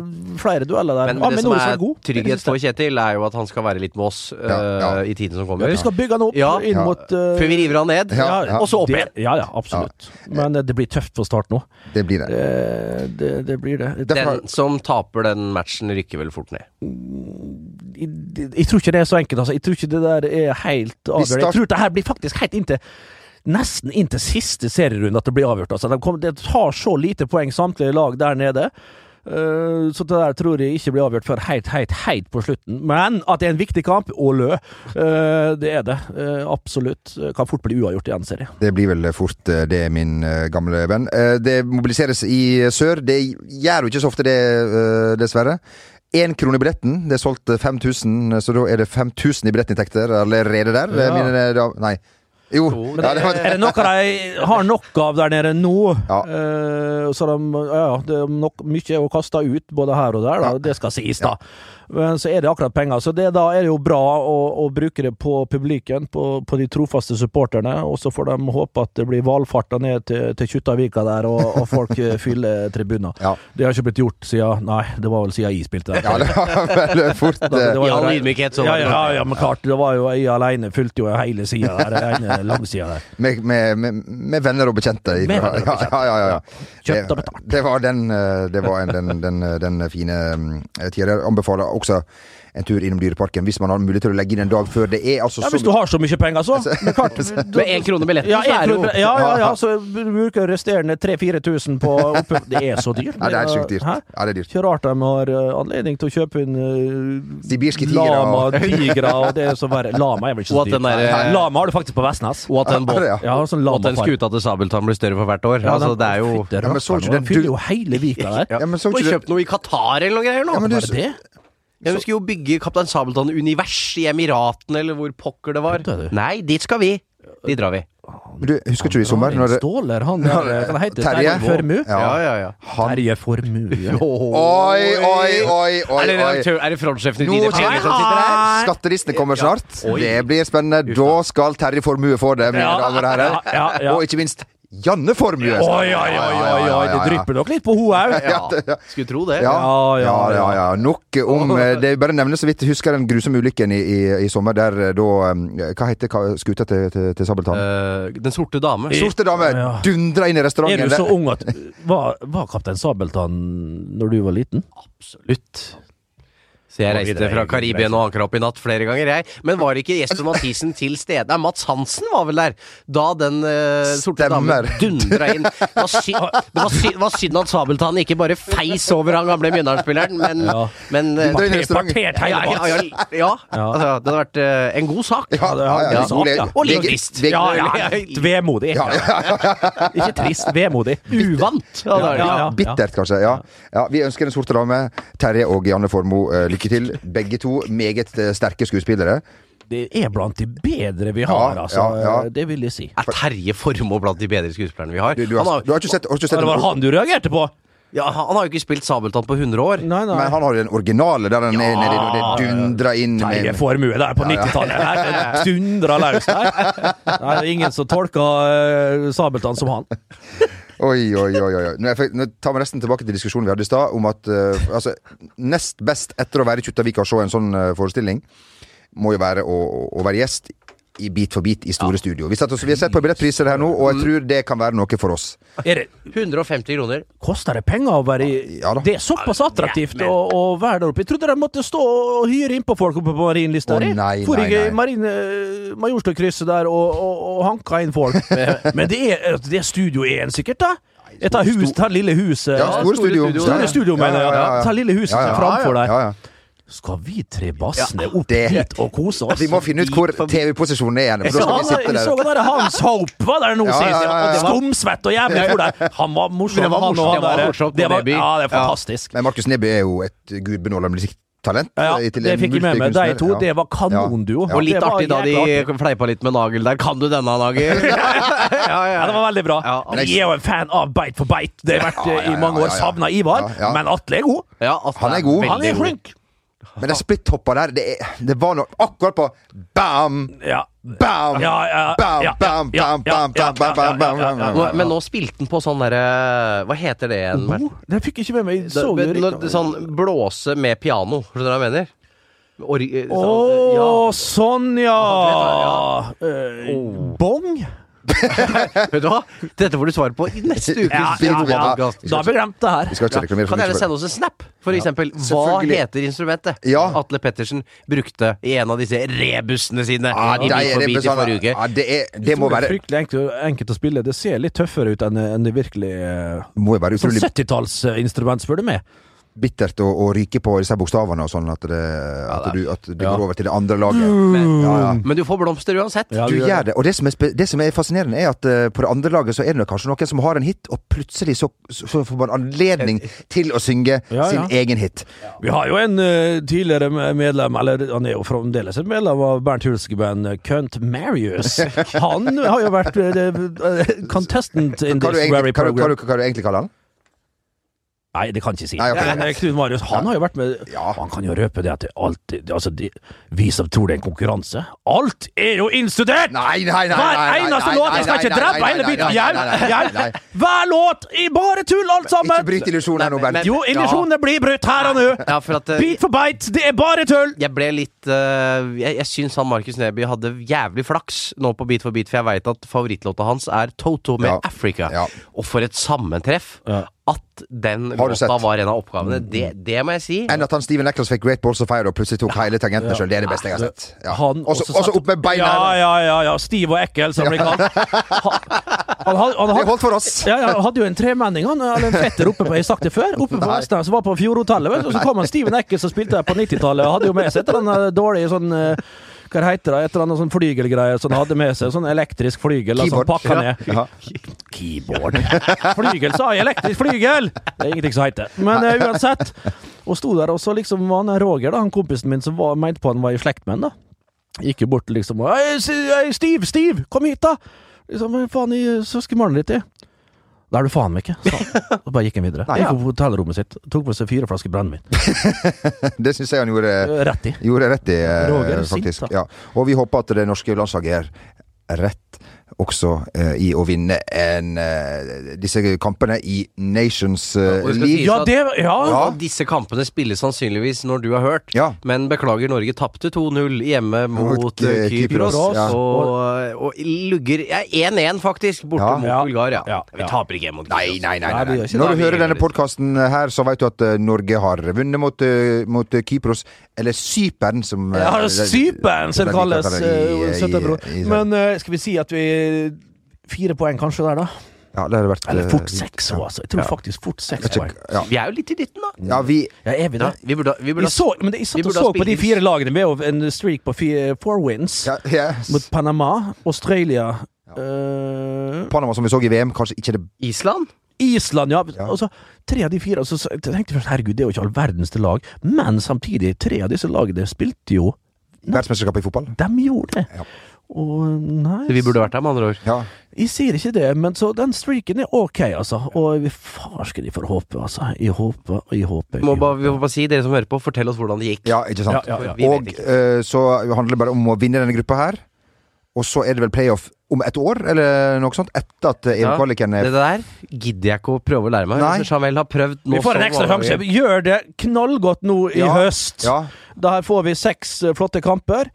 Speaker 1: flere dueller der.
Speaker 3: Men det
Speaker 1: Amin
Speaker 3: som
Speaker 1: Nori
Speaker 3: er
Speaker 1: var god.
Speaker 3: trygghet for Kjetil, er jo at han skal være litt med oss eh,
Speaker 2: Ja, ja.
Speaker 3: i tiden
Speaker 1: Ja,
Speaker 3: som kommer.
Speaker 1: vi skal bygge han opp
Speaker 3: Ja.
Speaker 1: inn
Speaker 2: Ja.
Speaker 1: mot eh,
Speaker 3: Før vi river han ned.
Speaker 2: Ja, ja.
Speaker 3: Og så opp
Speaker 1: det-
Speaker 3: igjen.
Speaker 1: Ja, ja, absolutt. Men eh, det blir tøft for start nå.
Speaker 2: Det blir det.
Speaker 1: Eh, det, det blir det.
Speaker 2: Derfor har-
Speaker 3: Den som taper den matchen, rykker vel fort ned.
Speaker 1: jeg, jeg tror ikke det er så enkelt, altså. Jeg tror ikke det der er helt avgjørende. Jeg
Speaker 2: start-
Speaker 1: tror det her blir faktisk helt inntil Nesten inntil siste serierunde at det blir avgjort. Altså, de, kommer- de tar så lite poeng samtlige lag der nede. Eh, så det der tror jeg ikke blir avgjort før helt, helt, helt på slutten. Men at det er en viktig kamp, og lø, eh, det er det. Eh, absolutt. Kan fort bli uavgjort igjen, ser jeg.
Speaker 2: Det blir vel fort eh, det, min eh, gamle venn. Eh, Det mobiliseres i sør. Det gjør jo ikke så ofte det, eh, dessverre. Én krone i billetten. Det er solgt eh, 5000, så da er det 5000 i billettinntekter allerede der. eh,
Speaker 1: Ja.
Speaker 2: Mine, da- nei. Jo.
Speaker 1: Men
Speaker 2: Ja, det var,
Speaker 1: er det noe de har nok av der nede nå?
Speaker 2: Ja.
Speaker 1: Eh, så de, ja, ja, det er nok, mye er jo kasta ut både her og der, da.
Speaker 2: Ja.
Speaker 1: det skal sies, da. Men så er det akkurat penger. Så det, da er det jo bra å, å bruke det på publikum, på, på de trofaste supporterne. Og så får de håpe at det blir valfarta ned til, til Kjuttaviga der, og, og folk eh, fyller tribuner.
Speaker 2: Ja.
Speaker 1: Det har ikke blitt gjort siden Nei, det var vel siden jeg spilte der.
Speaker 2: ja, det var vel fort
Speaker 1: Da- det
Speaker 2: eh,
Speaker 1: var
Speaker 3: I
Speaker 1: jo
Speaker 3: all
Speaker 1: rei-
Speaker 3: ydmykhet, så
Speaker 1: ja,
Speaker 3: var det
Speaker 1: ja, ja, men klart, det var jo jeg alene, fulgte jo hele sida der, den ene langsida der.
Speaker 2: med, med, med, med venner og bekjente.
Speaker 1: Med venner og
Speaker 2: Ja, ja, ja, ja, ja.
Speaker 1: Kjøpt og
Speaker 2: Det-
Speaker 1: betalt.
Speaker 2: Det var den, eh, det var en, den, den, den fine eh, tida der. Anbefaler også en tur innom Dyreparken hvis man har mulighet til å legge inn en dag før. Det er altså
Speaker 1: Ja,
Speaker 2: så
Speaker 1: hvis du har så mye penger, så.
Speaker 2: Altså,
Speaker 1: Men klart, du-
Speaker 3: Med én krone billetten,
Speaker 1: ja,
Speaker 3: så
Speaker 1: en
Speaker 3: er det jo
Speaker 1: krone- ja, ja, ja, så bruker resterende 3000-4000 på oppe... Det er så dyrt.
Speaker 2: Ja, det er sjukt dyrt.
Speaker 1: Hæ?
Speaker 2: Ja, det er dyrt.
Speaker 1: Ikke rart de har eh, anledning til å kjøpe inn uh,
Speaker 2: Sibirske tigre
Speaker 1: lama,
Speaker 2: og-
Speaker 1: tigre og det som verre. Lama er vel ikke
Speaker 3: Og
Speaker 1: så
Speaker 3: at
Speaker 1: dyrt.
Speaker 3: den der- eh,
Speaker 1: Nei, Lama har du faktisk på Vestnes. ass.
Speaker 3: Og at den, båt,
Speaker 2: Ja,
Speaker 1: Ja, sånn
Speaker 3: og at den
Speaker 1: lamafar.
Speaker 3: skuta til Sabeltann blir større for hvert år.
Speaker 1: Ja,
Speaker 3: altså,
Speaker 1: den-
Speaker 3: det er jo
Speaker 1: Fytte
Speaker 2: Ja, men så
Speaker 1: rakkeren,
Speaker 2: ikke
Speaker 1: den
Speaker 2: den-
Speaker 1: fyller
Speaker 2: du-
Speaker 1: jo hele vika der.
Speaker 2: Ja, men så
Speaker 3: Og
Speaker 2: ikke det-
Speaker 3: kjøpt noe i Qatar eller noe greier nå!
Speaker 2: Ja, men du-
Speaker 1: Var det det?
Speaker 3: Jeg husker jo bygge Kaptein Sabeltann-univers i Emiratene, eller hvor pokker det var.
Speaker 1: Kødder du?
Speaker 3: Nei, dit skal vi! Dit drar vi.
Speaker 2: Men du, husker ikke du i sommer?
Speaker 1: Han
Speaker 2: Når
Speaker 1: er
Speaker 2: det,
Speaker 1: en ståler, han er, hva heter det?
Speaker 2: Terje?
Speaker 1: Terje Formue?
Speaker 2: Ja.
Speaker 3: Ja, ja, ja.
Speaker 2: Han
Speaker 1: Terje Formue.
Speaker 2: Oi, oi, oi, oi.
Speaker 3: Er det,
Speaker 2: oi.
Speaker 3: redaktør- er det frontsjefen i
Speaker 2: Nå
Speaker 3: Dine
Speaker 2: kommer
Speaker 3: Penger som sitter her?
Speaker 2: Skattelistene kommer snart. Det blir spennende. Da skal Terje Formue få det, mine
Speaker 1: Ja.
Speaker 2: damer og herrer.
Speaker 1: Ja, ja, ja.
Speaker 2: Og ikke minst Janne Formue.
Speaker 1: Oi, oi, oi, oi, oi, det drypper nok litt på hun òg.
Speaker 3: Ja, skulle tro det.
Speaker 2: Ja,
Speaker 1: Ja, ja,
Speaker 2: ja, ja, ja. Nok om eh, Det er bare nevner så vidt jeg husker den grusomme ulykken i, i, i sommer der eh, da eh, Hva heter ka- skuta til, til, til Sabeltann?
Speaker 3: Eh, den sorte dame.
Speaker 2: Sorte dame
Speaker 1: ja.
Speaker 2: dundra inn i
Speaker 1: Er
Speaker 2: restauranten.
Speaker 1: du så ung at Var, var Kaptein Sabeltann når du var liten?
Speaker 3: Absolutt. Så jeg reiste fra Karibien og ankra opp i natt flere ganger, jeg. Men var ikke Jesper Mathisen til stede? Nei, Mats Hansen var vel der da den eh, sorte damen
Speaker 2: Stemmer.
Speaker 3: dundra inn. Det var, sy det var, sy det var synd at Sabeltann ikke bare feis over han gamle Mjøndalen-spilleren, men,
Speaker 1: Ja.
Speaker 3: men eh,
Speaker 2: Dundra inn i restauranten.
Speaker 1: Partert
Speaker 3: ja,
Speaker 1: hele
Speaker 3: ja, ja,
Speaker 1: Mats.
Speaker 3: ja, Altså, det hadde vært eh, en god sak.
Speaker 2: Ja, ja, ja,
Speaker 1: Ja.
Speaker 2: god le-
Speaker 1: Ja.
Speaker 3: Og
Speaker 2: lege-
Speaker 3: litt trist.
Speaker 2: lege-
Speaker 1: Ja, ja, vemodig. Ikke trist, vemodig.
Speaker 3: Uvant! Ja, det er det.
Speaker 1: Ja, ja.
Speaker 2: Bittert, kanskje. Ja. ja. Vi ønsker Den sorte dame, Terje og Janne Formoe, eh, lykke til. Begge to meget eh, sterke skuespillere.
Speaker 1: Det er blant de bedre vi har,
Speaker 2: Ja,
Speaker 1: altså.
Speaker 2: ja, ja.
Speaker 1: Det vil jeg si.
Speaker 3: Er Terje Formoe blant de bedre skuespillerne vi har?
Speaker 2: Du, du, har,
Speaker 3: han,
Speaker 2: du
Speaker 3: har,
Speaker 2: har ikke sett, har ikke sett
Speaker 1: Det var han du reagerte på?
Speaker 3: ja, han har jo ikke spilt Sabeltann på 100 år.
Speaker 1: Nei,
Speaker 2: Men han har jo den originale, der han er nede og det dundrer inn
Speaker 1: Terje
Speaker 2: med
Speaker 1: Formue der på 90-tallet. Der dundra løs der. Nei, det er ingen som tolker eh, Sabeltann som han.
Speaker 2: Oi, oi, oi. oi. oi. Nå, er jeg, nå tar vi nesten tilbake til diskusjonen vi hadde i stad, om at eh, altså, nest best etter å være i Kjuttaviga og se en sånn eh, forestilling, må jo være å, å, å være gjest i Bit for bit i store studio. Vi, satt oss, vi har sett på billettpriser her nå, og
Speaker 1: Mm.
Speaker 2: jeg tror det kan være noe for oss.
Speaker 1: Er det,
Speaker 3: 150 kroner.
Speaker 1: koster det penger å være i
Speaker 2: Ja da.
Speaker 1: Det er såpass attraktivt
Speaker 3: men-
Speaker 1: å, å være der oppe. Jeg trodde de måtte stå og hyre innpå folk oppe på Marienlyst.
Speaker 2: Å,
Speaker 1: der, jeg.
Speaker 2: nei,
Speaker 1: For
Speaker 2: nei,
Speaker 1: jeg i
Speaker 2: nei.
Speaker 1: Marine, Majorstukrysset der og, og, og hanka inn folk. Men det er, altså, det er Studio 1 sikkert, da? Jeg tar, hus, tar lille huset
Speaker 2: Ja, store studio.
Speaker 1: Store
Speaker 2: Ja, ja.
Speaker 1: studio, mener jeg. Ta lille huset som er framfor der.
Speaker 2: Ja, ja.
Speaker 1: Skal vi tre bassene opp
Speaker 2: det-
Speaker 1: dit og kose oss?
Speaker 2: Vi må finne ut hvor TV-posisjonen er igjen.
Speaker 1: Jeg
Speaker 2: For da
Speaker 1: så,
Speaker 2: skal vi
Speaker 1: han,
Speaker 2: sitte
Speaker 1: jeg
Speaker 2: der.
Speaker 1: så han der Hans Hope var der nå
Speaker 2: Ja,
Speaker 1: sist.
Speaker 2: ja, ja, ja.
Speaker 1: og det var- Skumsvett og jævlig for deg. Han var morsom.
Speaker 3: Men det var
Speaker 1: han og
Speaker 3: morsomt,
Speaker 1: han
Speaker 3: det var
Speaker 1: der.
Speaker 3: morsomt på
Speaker 1: Det var-
Speaker 3: Neby.
Speaker 1: Ja, det er fantastisk.
Speaker 2: Men Markus Neby er jo et gudbenåla musikktalent.
Speaker 1: Ja,
Speaker 2: eh,
Speaker 1: ja,
Speaker 2: til
Speaker 1: det
Speaker 2: en
Speaker 1: fikk jeg med meg.
Speaker 2: multikunstner.
Speaker 1: De to, det var kanonduo.
Speaker 3: Og litt
Speaker 1: Det var
Speaker 3: artig da
Speaker 1: jækla artig.
Speaker 3: de fleipa litt med Nagel der. Kan du denne, Nagel? ja,
Speaker 1: Ja, det var veldig bra.
Speaker 3: Ja,
Speaker 1: Men jeg er jo en fan av Beit for beit. Det har vært
Speaker 2: Ja, ja,
Speaker 1: eh, i
Speaker 2: ja,
Speaker 1: mange år.
Speaker 2: ja, ja.
Speaker 1: Savna Ivar,
Speaker 2: Ja, ja.
Speaker 1: men Atle er god.
Speaker 3: Ja, Atle
Speaker 2: Han er god.
Speaker 3: veldig
Speaker 1: Han er flink.
Speaker 2: Men det splitthoppa der, det, er- det var noe akkurat på Bam!
Speaker 1: Ja.
Speaker 2: Bam!
Speaker 1: Ja, ja,
Speaker 2: Bam,
Speaker 1: ja,
Speaker 2: bam,
Speaker 1: ja,
Speaker 2: bam,
Speaker 1: ja,
Speaker 2: bam,
Speaker 1: ja,
Speaker 2: bam, bam,
Speaker 1: ja,
Speaker 2: bam, bam,
Speaker 1: ja, ja,
Speaker 2: bam,
Speaker 3: Nå,
Speaker 2: bam.
Speaker 3: men nå spilte han på sånn derre Hva heter det igjen? Merten?
Speaker 1: Obo? Det fikk jeg ikke med meg.
Speaker 3: Det-
Speaker 1: Så jo
Speaker 3: det-
Speaker 1: riktig-
Speaker 3: det- Sånn blåse med piano. Skjønner du hva jeg mener? eh, Or
Speaker 1: Å, sånn, ja! Eh, Bong?
Speaker 3: ja. Vet du hva? Dette får du svar på i neste ukes
Speaker 2: Ja, ja, ja.
Speaker 3: podcast.
Speaker 1: Da har vi glemt det her.
Speaker 2: Vi skal ikke reklamere for
Speaker 3: Kan gjerne
Speaker 2: mye.
Speaker 3: sende oss en snap, for eksempel. Hva
Speaker 2: selvfølgelig.
Speaker 3: heter instrumentet
Speaker 2: Ja.
Speaker 3: Atle Pettersen brukte i en av disse rebusene sine?
Speaker 2: Ja,
Speaker 3: i
Speaker 2: de
Speaker 3: Bit
Speaker 2: Ah, er
Speaker 3: for bit i
Speaker 2: representanter.
Speaker 3: forrige uke.
Speaker 2: Ja, ah, det, er, det må
Speaker 1: Tror
Speaker 2: være
Speaker 1: fryktelig enkelt, enkelt å spille. Det ser litt tøffere ut enn, enn det virkelig eh,
Speaker 2: må jo være
Speaker 1: Sånn
Speaker 2: utrolig
Speaker 1: 70-tallsinstrument, spør du meg.
Speaker 2: bittert å, å ryke på disse bokstavene og sånn at, det, at du, at du går over til det andre laget.
Speaker 1: Mm.
Speaker 2: Ja, ja.
Speaker 3: Men du får blomster uansett.
Speaker 1: Ja,
Speaker 2: Du gjør det. Og det som, er, spe- det som er fascinerende, er at eh, på det andre laget så er det nok kanskje noen som har en hit, og plutselig så, så så får man anledning til å synge
Speaker 1: Ja,
Speaker 2: sin
Speaker 1: ja.
Speaker 2: egen hit.
Speaker 1: Vi har jo en eh, tidligere me- medlem, eller han er jo fremdeles et medlem av Bernt Hulske-band eh, Cunt Marius. Han har jo vært eh, eh, contestant in
Speaker 2: Hva du,
Speaker 1: this
Speaker 2: egentlig,
Speaker 1: very
Speaker 2: hva, du, hva,
Speaker 1: program.
Speaker 2: du, hva du egentlig kaller han?
Speaker 1: Nei, det kan jeg ikke si.
Speaker 2: Nei, ok.
Speaker 1: Men, eh, Knut Marius, han har jo vært med
Speaker 2: Ja.
Speaker 1: Han kan jo røpe det at det alltid det- Altså, de, vi som tror det er en konkurranse Alt er jo innstudert!
Speaker 2: Nei, nei, nei!
Speaker 1: Hver
Speaker 2: nei,
Speaker 1: eneste
Speaker 2: nei,
Speaker 1: låt!
Speaker 2: nei,
Speaker 1: Jeg skal
Speaker 2: nei,
Speaker 1: ikke
Speaker 2: nei,
Speaker 1: drepe
Speaker 2: nei,
Speaker 1: hele
Speaker 2: nei,
Speaker 1: biten!
Speaker 2: nei,
Speaker 1: Hjelp!
Speaker 2: nei, nei, nei, nei.
Speaker 1: Hjelp! Hver låt i bare tull, alt sammen!
Speaker 2: Ikke bryt illusjonen her nå, Bernt.
Speaker 3: men-
Speaker 1: Jo, illusjonene blir brutt her og nå!
Speaker 3: Ja, for at eh,
Speaker 1: Bit for beit, det er bare tull!
Speaker 3: jeg ble litt eh, Jeg, jeg syns han Markus Neby hadde jævlig flaks nå på Beat for beat, for jeg veit at favorittlåta hans er Toto med
Speaker 2: Ja.
Speaker 3: Africa.
Speaker 2: Ja.
Speaker 3: Og for et sammentreff at den
Speaker 2: Har du
Speaker 3: låta
Speaker 2: sett?
Speaker 3: var en av oppgavene.
Speaker 1: Mm.
Speaker 3: Det, det må jeg si.
Speaker 2: Enn at han Steven Eckles fikk Great Balls of Fire og plutselig tok hele tangentene sjøl. Det er det beste jeg har sett. Ja.
Speaker 1: Han
Speaker 2: Også,
Speaker 1: også
Speaker 2: også
Speaker 1: satt-
Speaker 2: opp med beina!
Speaker 1: Ja,
Speaker 2: her.
Speaker 1: ja, ja, ja. Stiv og ekkel, som det blir kalt. Han, han, had- han,
Speaker 2: Det
Speaker 1: had-
Speaker 2: holdt for oss!
Speaker 1: ja, ja, han hadde jo en tremenning, han, eller en fetter oppe på Jeg har sagt det før. Oppe på Vestlandet, som var på Fjordhotellet, vet du. Og så kom han Steven Ekkel, som spilte der på 90-tallet, og hadde jo med seg til den eh, dårlige sånn eh, Hva heter det? Et eller annet sånn flygelgreie som han hadde med seg. Sånn elektrisk flygel. Altså,
Speaker 2: Keyboard.
Speaker 1: pakka ned.
Speaker 2: Ja.
Speaker 1: Keyboard. Flygel, sa jeg! Elektrisk flygel! Det er ingenting som heter det. Men eh, uansett. Og sto der, og så liksom var han Roger, da, han kompisen min som var, mente på han var i slekt med han, da. Gikk jo bort liksom og «Hei, S- hei, Steve, Steve, kom hit, da! Liksom, «Hva faen i søskenbarnet ditt i? Det er du faen meg ikke, sa han. Og bare gikk han videre. Gikk opp på hotellrommet sitt, tok på seg fire flasker brennevin.
Speaker 2: Det syns jeg han gjorde,
Speaker 1: Rett i.
Speaker 2: gjorde rett i, eh,
Speaker 1: Roger er sint,
Speaker 2: faktisk.
Speaker 1: da.
Speaker 2: ja. Og vi håper at det norske landslaget er rett også eh, i å vinne en, eh, disse kampene i Nations eh,
Speaker 3: Og det skal
Speaker 2: League.
Speaker 3: sies
Speaker 1: Ja,
Speaker 3: at-
Speaker 1: det Ja!
Speaker 2: Ja.
Speaker 3: Og disse kampene spilles sannsynligvis når du har hørt,
Speaker 2: Ja.
Speaker 3: men beklager, Norge tapte 2-0 hjemme mot,
Speaker 2: Mot,
Speaker 3: eh,
Speaker 2: eh,
Speaker 3: Kypros.
Speaker 1: Kypros, ja.
Speaker 3: Og, og lugger ja, 1-1, faktisk, borte
Speaker 2: Ja.
Speaker 3: mot
Speaker 1: Ja.
Speaker 3: Bulgaria.
Speaker 1: Ja.
Speaker 3: Vi taper ikke hjemme mot
Speaker 2: Nei,
Speaker 3: Kypros.
Speaker 2: nei, nei.
Speaker 1: Nei,
Speaker 2: nei,
Speaker 1: vi gjør
Speaker 2: nei.
Speaker 1: ikke
Speaker 2: Når
Speaker 3: det.
Speaker 2: du hører denne podkasten her, så vet du at eh, Norge har vunnet mot, eh, mot eh, Kypros, eller Cypern, som eh,
Speaker 1: Ja,
Speaker 2: det-
Speaker 1: Cypern, som
Speaker 2: det-
Speaker 1: kalles
Speaker 2: det- i-
Speaker 1: eh,
Speaker 2: i-
Speaker 1: søttebror.
Speaker 2: i- i-
Speaker 1: Men eh, skal vi si at vi Fire poeng kanskje der, da?
Speaker 2: Ja, det har vært
Speaker 1: Eller
Speaker 2: eh,
Speaker 1: fort
Speaker 2: fint.
Speaker 1: seks
Speaker 3: sånn.
Speaker 1: òg, altså. Jeg tror faktisk fort seks poeng.
Speaker 2: Ja.
Speaker 3: Vi er jo litt i dytten, da.
Speaker 2: ja, vi
Speaker 1: Ja, er vi
Speaker 3: Ja,
Speaker 1: det?
Speaker 3: vi burde, vi burde
Speaker 1: Vi så, men det, jeg satt
Speaker 3: vi
Speaker 1: og
Speaker 3: burde
Speaker 1: så
Speaker 3: ha
Speaker 1: på de
Speaker 3: spilt-
Speaker 1: fire lagene med over en streak på fire, four wins
Speaker 2: ja, yes.
Speaker 1: mot Panama, Australia eh,
Speaker 2: Panama, som vi så i VM, kanskje ikke det
Speaker 3: Island?
Speaker 1: Island, ja.
Speaker 2: Ja.
Speaker 1: Og så tre av de fire. og Så så tenkte jeg først herregud, det er jo ikke all verdens til lag. Men samtidig, tre av disse lagene spilte jo
Speaker 2: verdensmesterskapet i fotball.
Speaker 1: De gjorde det.
Speaker 2: Ja.
Speaker 1: Og nei
Speaker 3: Vi burde vært der, med andre ord.
Speaker 2: Ja.
Speaker 1: Jeg sier ikke det, men så den streaken er ok, altså. Og vi farsken, jeg får håpe, altså. Jeg håper, og jeg håper.
Speaker 3: Vi må
Speaker 1: jeg
Speaker 3: bare, vi må bare si, dere som hører på, fortell oss hvordan det gikk.
Speaker 2: ja, ikke sant?
Speaker 1: Ja, ja, ja.
Speaker 3: Vi vet
Speaker 2: Og
Speaker 3: ikke.
Speaker 2: eh, så handler det bare om å vinne denne gruppa her. Og så er det vel playoff om et år, eller noe sånt? Etter at eh,
Speaker 3: Ja,
Speaker 2: EM-kvaliken er
Speaker 3: Det der gidder jeg ikke å prøve å lære meg.
Speaker 2: Nei.
Speaker 3: Nei. Jamel har prøvd nå
Speaker 1: Vi får en
Speaker 3: så
Speaker 1: ekstra
Speaker 3: mange
Speaker 1: sjanse.
Speaker 3: ganger.
Speaker 1: Gjør det knallgodt nå i
Speaker 2: Ja,
Speaker 1: høst.
Speaker 2: Ja.
Speaker 1: Da her får vi seks eh, flotte kamper.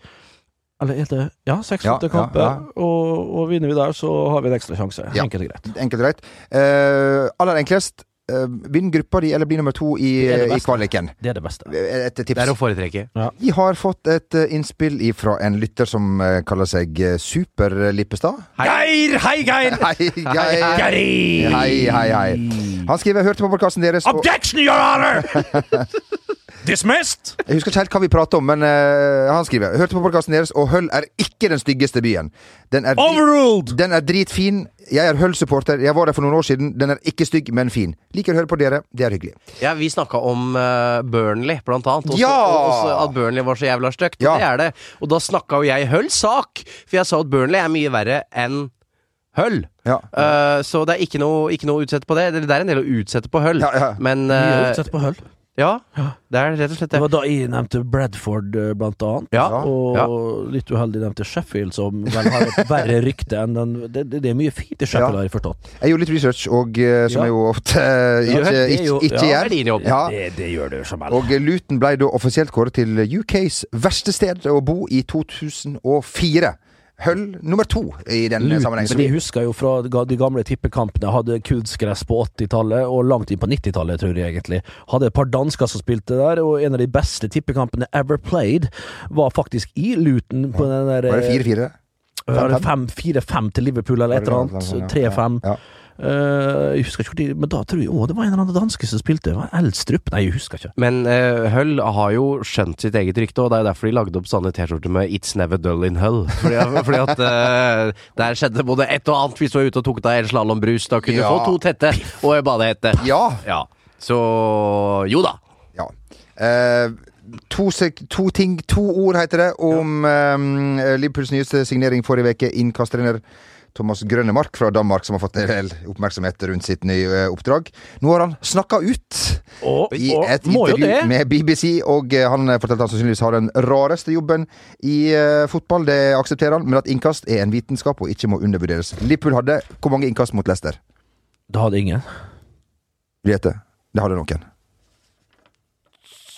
Speaker 1: Eller er det Ja, seks
Speaker 2: Ja,
Speaker 1: flotte
Speaker 2: ja,
Speaker 1: kamper. Og, og vinner vi der, så har vi en ekstra sjanse.
Speaker 2: Ja.
Speaker 1: Enkelt og greit.
Speaker 2: Enkelt og greit. Eh, aller enklest, eh, vinn gruppa di, eller bli nummer to i,
Speaker 1: Det er det
Speaker 2: i
Speaker 1: beste.
Speaker 2: kvaliken. Eh,
Speaker 1: Det er det beste.
Speaker 2: Et
Speaker 3: Det er å
Speaker 2: tips.
Speaker 3: foretrekke.
Speaker 2: Vi har fått et eh, innspill fra en lytter som eh, kaller seg eh, Super-Lippestad.
Speaker 1: Geir! Hei, Geir!
Speaker 2: Hei, Geir!
Speaker 1: Geir!
Speaker 2: Hei, hei, hei. Han skriver 'Hørte på podkasten deres' og
Speaker 1: Objection, your honor! Dismissed!
Speaker 2: Jeg husker ikke helt hva vi pratet om, men eh, han skriver 'Hørte på podkasten deres, og Høll er ikke den styggeste byen'. Den er, dri-
Speaker 1: Overruled!
Speaker 2: den er dritfin. Jeg er Høll-supporter. Jeg var der for noen år siden. Den er ikke stygg, men fin. Liker å høre på dere. Det er hyggelig.
Speaker 3: Ja, Vi snakka om eh, Burnley, blant annet. Også,
Speaker 2: Ja!
Speaker 3: og- også at Burnley var så jævla stygt.
Speaker 2: Ja.
Speaker 3: Det er det. Og da snakka jo jeg Hull sak! For jeg sa at Burnley er mye verre enn Hull.
Speaker 2: Ja.
Speaker 3: Eh, så det er ikke noe, ikke noe å utsette på det. Det det er en del å utsette på Hull.
Speaker 2: Ja, ja.
Speaker 3: Men
Speaker 1: Vi er
Speaker 3: eh,
Speaker 1: utsatt på høll.
Speaker 3: ja, det er rett og slett
Speaker 1: Det
Speaker 3: det.
Speaker 1: var da jeg nevnte Bradford, eh, blant annet.
Speaker 3: Ja,
Speaker 1: Og
Speaker 3: ja.
Speaker 1: litt uheldig nevnte Sheffield, som vel har et verre rykte enn den det, det, det er mye fint i Sheffield,
Speaker 2: Ja.
Speaker 1: har jeg forstått.
Speaker 2: Jeg gjorde litt research, og, eh, som
Speaker 1: Ja.
Speaker 2: jeg jo ofte eh, ikke,
Speaker 1: det er
Speaker 2: ikke,
Speaker 1: jo-
Speaker 2: ikke
Speaker 1: ja,
Speaker 3: det er din
Speaker 2: gjør.
Speaker 3: jobb.
Speaker 2: Ja.
Speaker 1: Det, det gjør det jo som helst.
Speaker 2: Og Luton ble da offisielt kåret til UKs verste sted å bo i 2004. Høll nummer to i den sammenhengen.
Speaker 1: Men
Speaker 2: Så
Speaker 1: de
Speaker 2: vi-
Speaker 1: husker jo fra ga- de gamle tippekampene. Hadde kunstgress på 80-tallet, og langt inn på 90-tallet, tror jeg egentlig. Hadde et par dansker som spilte der, og en av de beste tippekampene ever played var faktisk i Luton. På den der eh,
Speaker 2: Var det 4-4?
Speaker 1: var det fem- 4-5 til Liverpool, eller et eller annet. 3-5.
Speaker 2: Ja.
Speaker 1: Eh, jeg husker ikke hvor de Men da tror jeg å, det var en eller annen danske som spilte. Var det Elstrup? Nei, jeg husker ikke.
Speaker 3: Men eh, Hull har jo skjønt sitt eget rykte, og det er derfor de lagde opp sånne T-skjorter med 'It's never dull in Hull'. Fordi, fordi at eh, der skjedde både et og annet hvis du var ute og tok deg en slalåmbrus. Da kunne du
Speaker 2: Ja.
Speaker 3: få to tette og en badehette.
Speaker 2: Ja.
Speaker 3: Ja. Så jo da.
Speaker 2: Ja. Eh, to, sek to ting, to ord heter det, om eh, Liverpools nyeste signering forrige uke. Innkasttrener Thomas Grønnemark fra Danmark, som har fått en del oppmerksomhet rundt sitt nye eh, oppdrag. Nå har han snakka ut
Speaker 1: Og,
Speaker 2: i
Speaker 1: og
Speaker 2: et
Speaker 1: må jo
Speaker 2: intervju
Speaker 1: det.
Speaker 2: med BBC, og eh, han eh, fortalte at han sannsynligvis har den rareste jobben i eh, fotball. Det aksepterer han, men at innkast er en vitenskap og ikke må undervurderes. Liverpool hadde hvor mange innkast mot Leicester?
Speaker 1: Da hadde ingen.
Speaker 2: Vet det. Det hadde noen.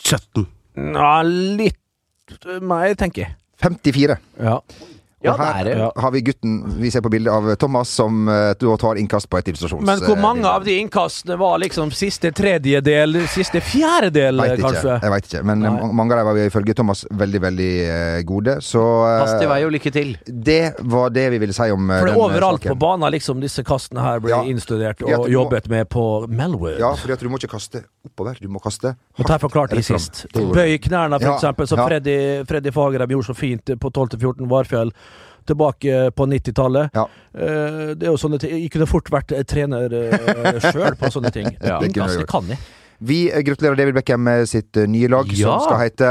Speaker 3: 17.
Speaker 1: Nja, litt mer, tenker jeg.
Speaker 2: 54.
Speaker 1: Ja.
Speaker 3: Ja,
Speaker 2: Og her
Speaker 3: det er det.
Speaker 2: har vi gutten vi ser på bildet av Thomas, som eh, da tar innkast på et illustrasjons...
Speaker 1: Men hvor mange
Speaker 2: eh,
Speaker 1: av de innkastene var liksom siste tredjedel, siste fjerdedel,
Speaker 2: Vet ikke.
Speaker 1: kanskje?
Speaker 2: Jeg veit ikke. Men eh,
Speaker 1: Nei.
Speaker 2: mange av dem var ifølge Thomas veldig, veldig eh, gode. Så eh,
Speaker 3: Pass til vei og lykke til.
Speaker 2: det var det vi ville si om
Speaker 1: For det
Speaker 2: eh,
Speaker 1: er
Speaker 2: den, eh,
Speaker 1: overalt
Speaker 2: saken.
Speaker 1: på banen liksom disse kastene her blir
Speaker 2: Ja.
Speaker 1: innstudert
Speaker 2: Ja,
Speaker 1: og
Speaker 2: du må-
Speaker 1: jobbet med på Melwood.
Speaker 2: Ja, fordi at du må ikke kaste oppover, du må kaste
Speaker 1: Og der forklarte de
Speaker 2: rett fram.
Speaker 1: sist.
Speaker 2: Det gjorde
Speaker 1: Bøy knærne, for
Speaker 2: Ja,
Speaker 1: eksempel, som
Speaker 2: ja.
Speaker 1: Freddy, Freddy Fagerheim gjorde så fint på 12-14 Varfjell tilbake eh, på 90-tallet.
Speaker 2: Ja.
Speaker 1: Eh, Det er jo sånne ting Jeg kunne fort vært eh, trener sjøl på sånne ting.
Speaker 3: Ja.
Speaker 2: Det kunne
Speaker 1: Innkast,
Speaker 2: jeg
Speaker 1: det kan jeg.
Speaker 2: Vi eh, gratulerer David Beckham med sitt eh, nye lag,
Speaker 3: Ja.
Speaker 2: som skal hete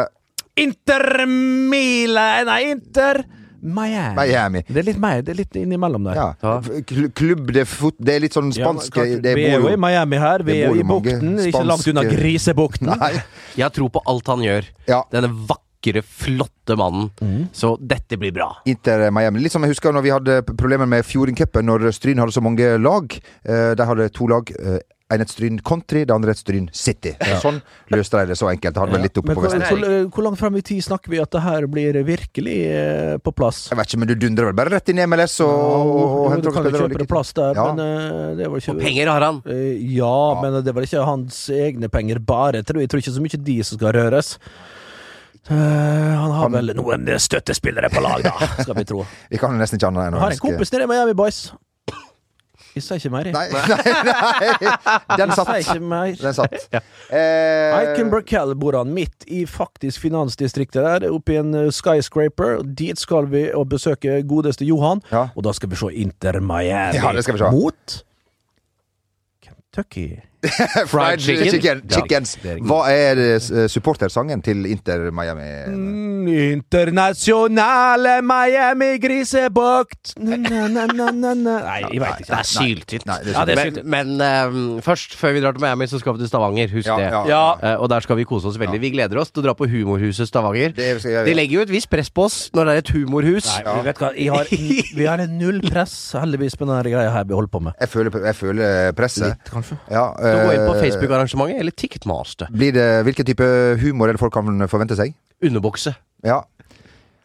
Speaker 1: Inter Mila Nei, Inter Miami.
Speaker 2: Miami.
Speaker 1: Det er litt meg, det er litt innimellom der.
Speaker 2: Ja. Kl- Klubb de fot... Det er litt sånn
Speaker 1: Ja, men
Speaker 2: spansk
Speaker 1: klart,
Speaker 2: det
Speaker 1: vi er jo
Speaker 2: bor
Speaker 1: i Miami her, vi
Speaker 2: det
Speaker 1: er
Speaker 2: bor
Speaker 1: jo i
Speaker 2: jo mange
Speaker 1: bukten. Ikke langt
Speaker 2: spanske-
Speaker 1: unna Grisebukten.
Speaker 2: Nei.
Speaker 3: Jeg tror på alt han gjør.
Speaker 2: Ja.
Speaker 3: Denne vakre, flotte mannen.
Speaker 2: Mm.
Speaker 3: Så dette blir bra.
Speaker 2: Inter Miami. Litt som jeg husker når vi hadde p- problemer med Fjordingcupen, når Stryn hadde så mange lag. Eh, De hadde to lag. eh, En et Stryn Country, det andre et Stryn City. Sånn løste de det så enkelt. Det hadde vært litt oppe
Speaker 1: Men
Speaker 2: på
Speaker 1: hvor,
Speaker 2: Vestlandet.
Speaker 1: hvor, hvor langt fram i tid snakker vi at det her blir virkelig eh, på plass?
Speaker 2: Jeg vet ikke, men du dundrer vel bare rett inn i MLS og, og, og,
Speaker 1: Jo,
Speaker 2: henter
Speaker 1: du kan jo
Speaker 2: og spillere og
Speaker 1: kjøpe
Speaker 2: lykke
Speaker 1: det plass der,
Speaker 2: Ja.
Speaker 1: men eh, det var ikke
Speaker 3: Penger har han.
Speaker 1: Eh, ja, men det var ikke hans egne penger bare. Jeg tror, jeg tror ikke så mye de som skal røres. Eh, han har vel noen støttespillere på lag, da, skal vi tro.
Speaker 2: til. Vi kan jo nesten ikke annet enn å
Speaker 1: Jeg har en
Speaker 2: ønske-
Speaker 1: kompis nede i Miami Boys. Jeg sier ikke mer, jeg.
Speaker 2: Nei, nei, nei.
Speaker 1: Jeg sier
Speaker 2: Den satt.
Speaker 1: ikke mer.
Speaker 2: Den satt.
Speaker 1: Aiken
Speaker 2: Eh,
Speaker 1: Burkell bor han midt i faktisk finansdistriktet der, oppe i en eh, skyscraper. Og Dit skal vi og besøke godeste Johan,
Speaker 2: Ja.
Speaker 1: og da skal vi se Inter Miami
Speaker 2: Ja, det skal vi se.
Speaker 1: mot Kentucky.
Speaker 2: fried chicken. chicken.
Speaker 3: Ja.
Speaker 2: Chickens. Hva er eh, supportersangen til Inter Miami?
Speaker 1: Mm. Internasjonale Miami grisebukt Nei, jeg veit ikke.
Speaker 3: Det er syltynt.
Speaker 2: Nei, det er
Speaker 1: Ja, det er
Speaker 3: men men ehm, først, før vi drar til Miami, så skal vi til Stavanger. Husk
Speaker 2: Ja,
Speaker 3: det.
Speaker 2: ja.
Speaker 1: Ja.
Speaker 3: Eh, og der skal vi kose oss veldig. Vi gleder oss til å dra på Humorhuset Stavanger.
Speaker 2: Det skal jeg gjøre.
Speaker 3: De legger jo et visst press på oss når det er et humorhus.
Speaker 1: Nei, vi vet hva, jeg har, vi har en null press, heldigvis, på denne greia her vi holder på med.
Speaker 2: Jeg føler, jeg føler presset.
Speaker 1: Litt, kanskje.
Speaker 2: Ja,
Speaker 3: Så gå inn på
Speaker 2: eh,
Speaker 3: Facebook-arrangementet eller Ticketmaster.
Speaker 2: Blir det, hvilken type humor er det folk kan forvente seg?
Speaker 3: Underbokse.
Speaker 2: Ja.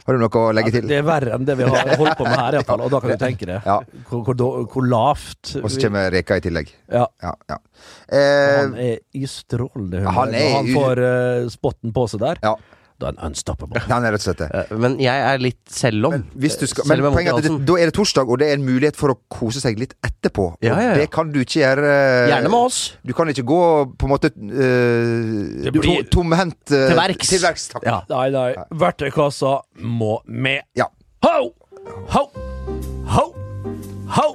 Speaker 2: Har du noe å legge til?
Speaker 1: Det er verre enn det vi har holdt på med her, i hvert fall, og da kan du tenke deg
Speaker 2: Ja.
Speaker 1: hvor, hvor, da- hvor lavt
Speaker 2: Og så
Speaker 1: vi-
Speaker 2: kommer reka i tillegg.
Speaker 1: ja.
Speaker 2: Ja, ja. Eh,
Speaker 1: Han er i strålende humør.
Speaker 2: han er
Speaker 1: Når han
Speaker 2: i-
Speaker 1: får eh, spotten på seg der,
Speaker 2: ja.
Speaker 1: da er han unstoppable.
Speaker 2: Han er rett og slett det.
Speaker 3: Eh, Men jeg er litt selv om.
Speaker 2: Hvis du skal,
Speaker 3: Selv
Speaker 2: men
Speaker 3: om jeg
Speaker 2: poenget er at
Speaker 3: måtte
Speaker 2: det, da er det torsdag, og det er en mulighet for å kose seg litt etterpå. Og
Speaker 3: Ja, ja, ja.
Speaker 2: Det kan du ikke gjøre eh,
Speaker 3: Gjerne med oss.
Speaker 2: Du kan ikke gå på en måte eh,
Speaker 1: Det blir-
Speaker 2: to- tomhendt eh,
Speaker 3: Til verks.
Speaker 2: Til verks, takk.
Speaker 3: Ja.
Speaker 1: Nei, nei. Verktøykassa må med.
Speaker 2: Ja.
Speaker 1: Ho! Ho! Ho! Ho!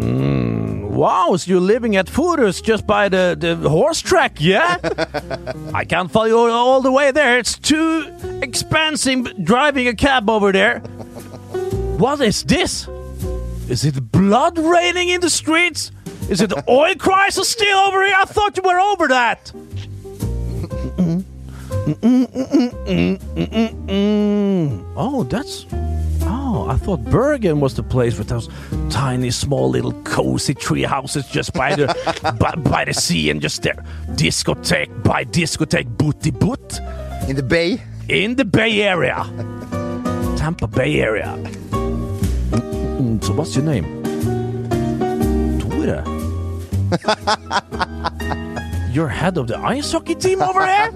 Speaker 1: Wow, so you're living at Furus just by the, the horse track, yeah? I can't follow you all the way there. It's too expensive driving a cab over there. What is this? Is it blood raining in the streets? Is it the oil crisis still over here? I thought you were over that. Oh, that's. Oh, I thought Bergen was the place with those tiny, small, little, cozy tree houses just by the by, by the sea and just there. Discotheque by discotheque, booty boot
Speaker 2: In the bay.
Speaker 1: in the Bay Area. Tampa Bay Area. Mm, so what's your name? Tore. You're head of the ice hockey team over here?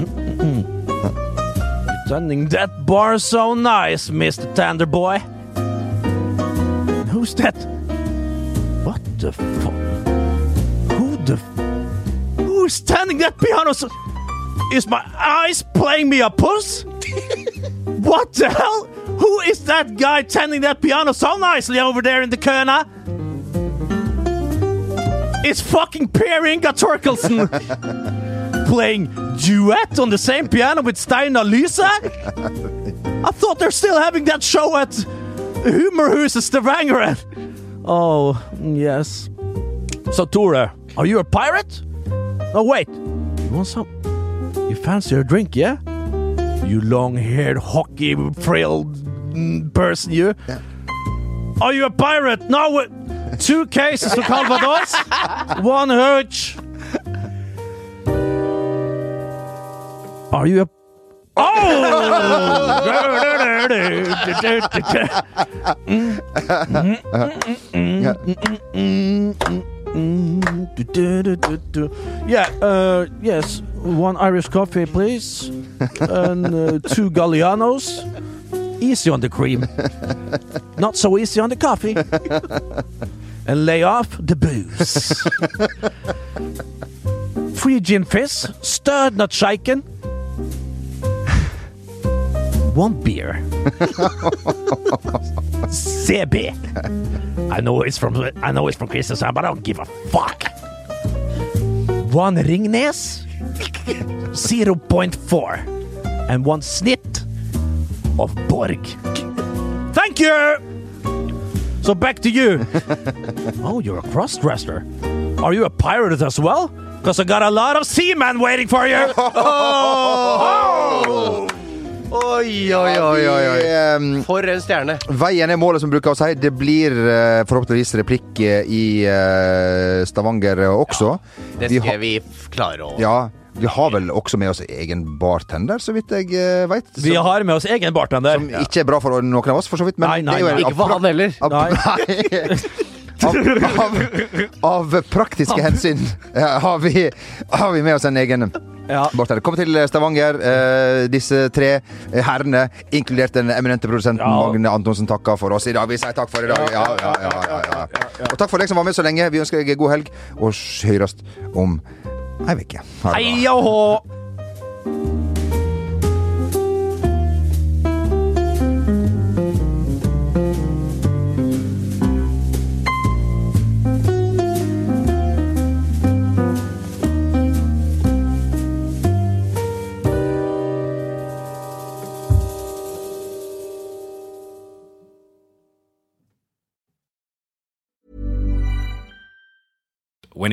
Speaker 1: You're turning that bar so nice, Mr. Tender Boy. Who's that? What the fuck? Who the... F- Who's standing that piano so... Is my eyes playing me a puss? what the hell? Who is that guy tending that piano so nicely over there in the corner? It's fucking Per Inga Torkelsen playing duet on the same piano with Steinar Lyse. I thought they're still having that show at Humorhuset Stavanger. Oh, yes. So, Ture, are you a pirate? No, wait. You want some? You fancy a drink, yeah? You long haired, hockey frail mm, person, you. Are you a pirate? No, we- two cases to Calvados, one hooch. Are you a Oh! Mm, yeah, uh, yes. One Irish coffee, please. And uh, two Gallianos. Easy on the cream. Not so easy on the coffee. And lay off the booze. Three gin fizz, stirred, not shaken. One beer. Sebi. I know it's from I know it's from Kristiansand, but I don't give a fuck. One Ringnes, 0.4, and one snit of Borg. Thank you. So back to you. oh, you're a cross-dresser. Are you a pirate as well? Because I got a lot of seamen waiting for you.
Speaker 3: Oi, oi, oi, oi, oi.
Speaker 2: eh,
Speaker 3: For en stjerne.
Speaker 2: Veien er målet, som bruker å si. Det blir eh, forhåpentligvis replikk eh, i eh, Stavanger eh, også.
Speaker 3: Det
Speaker 2: Vi
Speaker 3: skal
Speaker 2: har-
Speaker 3: vi f- klare å
Speaker 2: Ja, vi har vel også med oss egen bartender, så vidt jeg uh, veit. Som
Speaker 1: Vi har med oss egen bartender.
Speaker 2: som ikke er bra for noen av oss, for så vidt. Men
Speaker 1: Nei, nei,
Speaker 2: det er jo en
Speaker 1: nei.
Speaker 3: Ikke for han heller.
Speaker 2: Av, nei. av, av, av praktiske hensyn eh, har vi, har vi med oss en egen
Speaker 1: Ja.
Speaker 2: bartender. Kom til Stavanger, eh, disse tre herrene, inkludert den eminente produsenten
Speaker 1: Ja.
Speaker 2: Magne Antonsen, takker for oss i dag. Vi sier takk for i dag. Ja, ja, ja, ja, ja. Og takk for deg som var med så lenge. Vi ønsker deg god helg, og høres om ei uke. Ha det bra.
Speaker 1: Hei og hå!
Speaker 4: When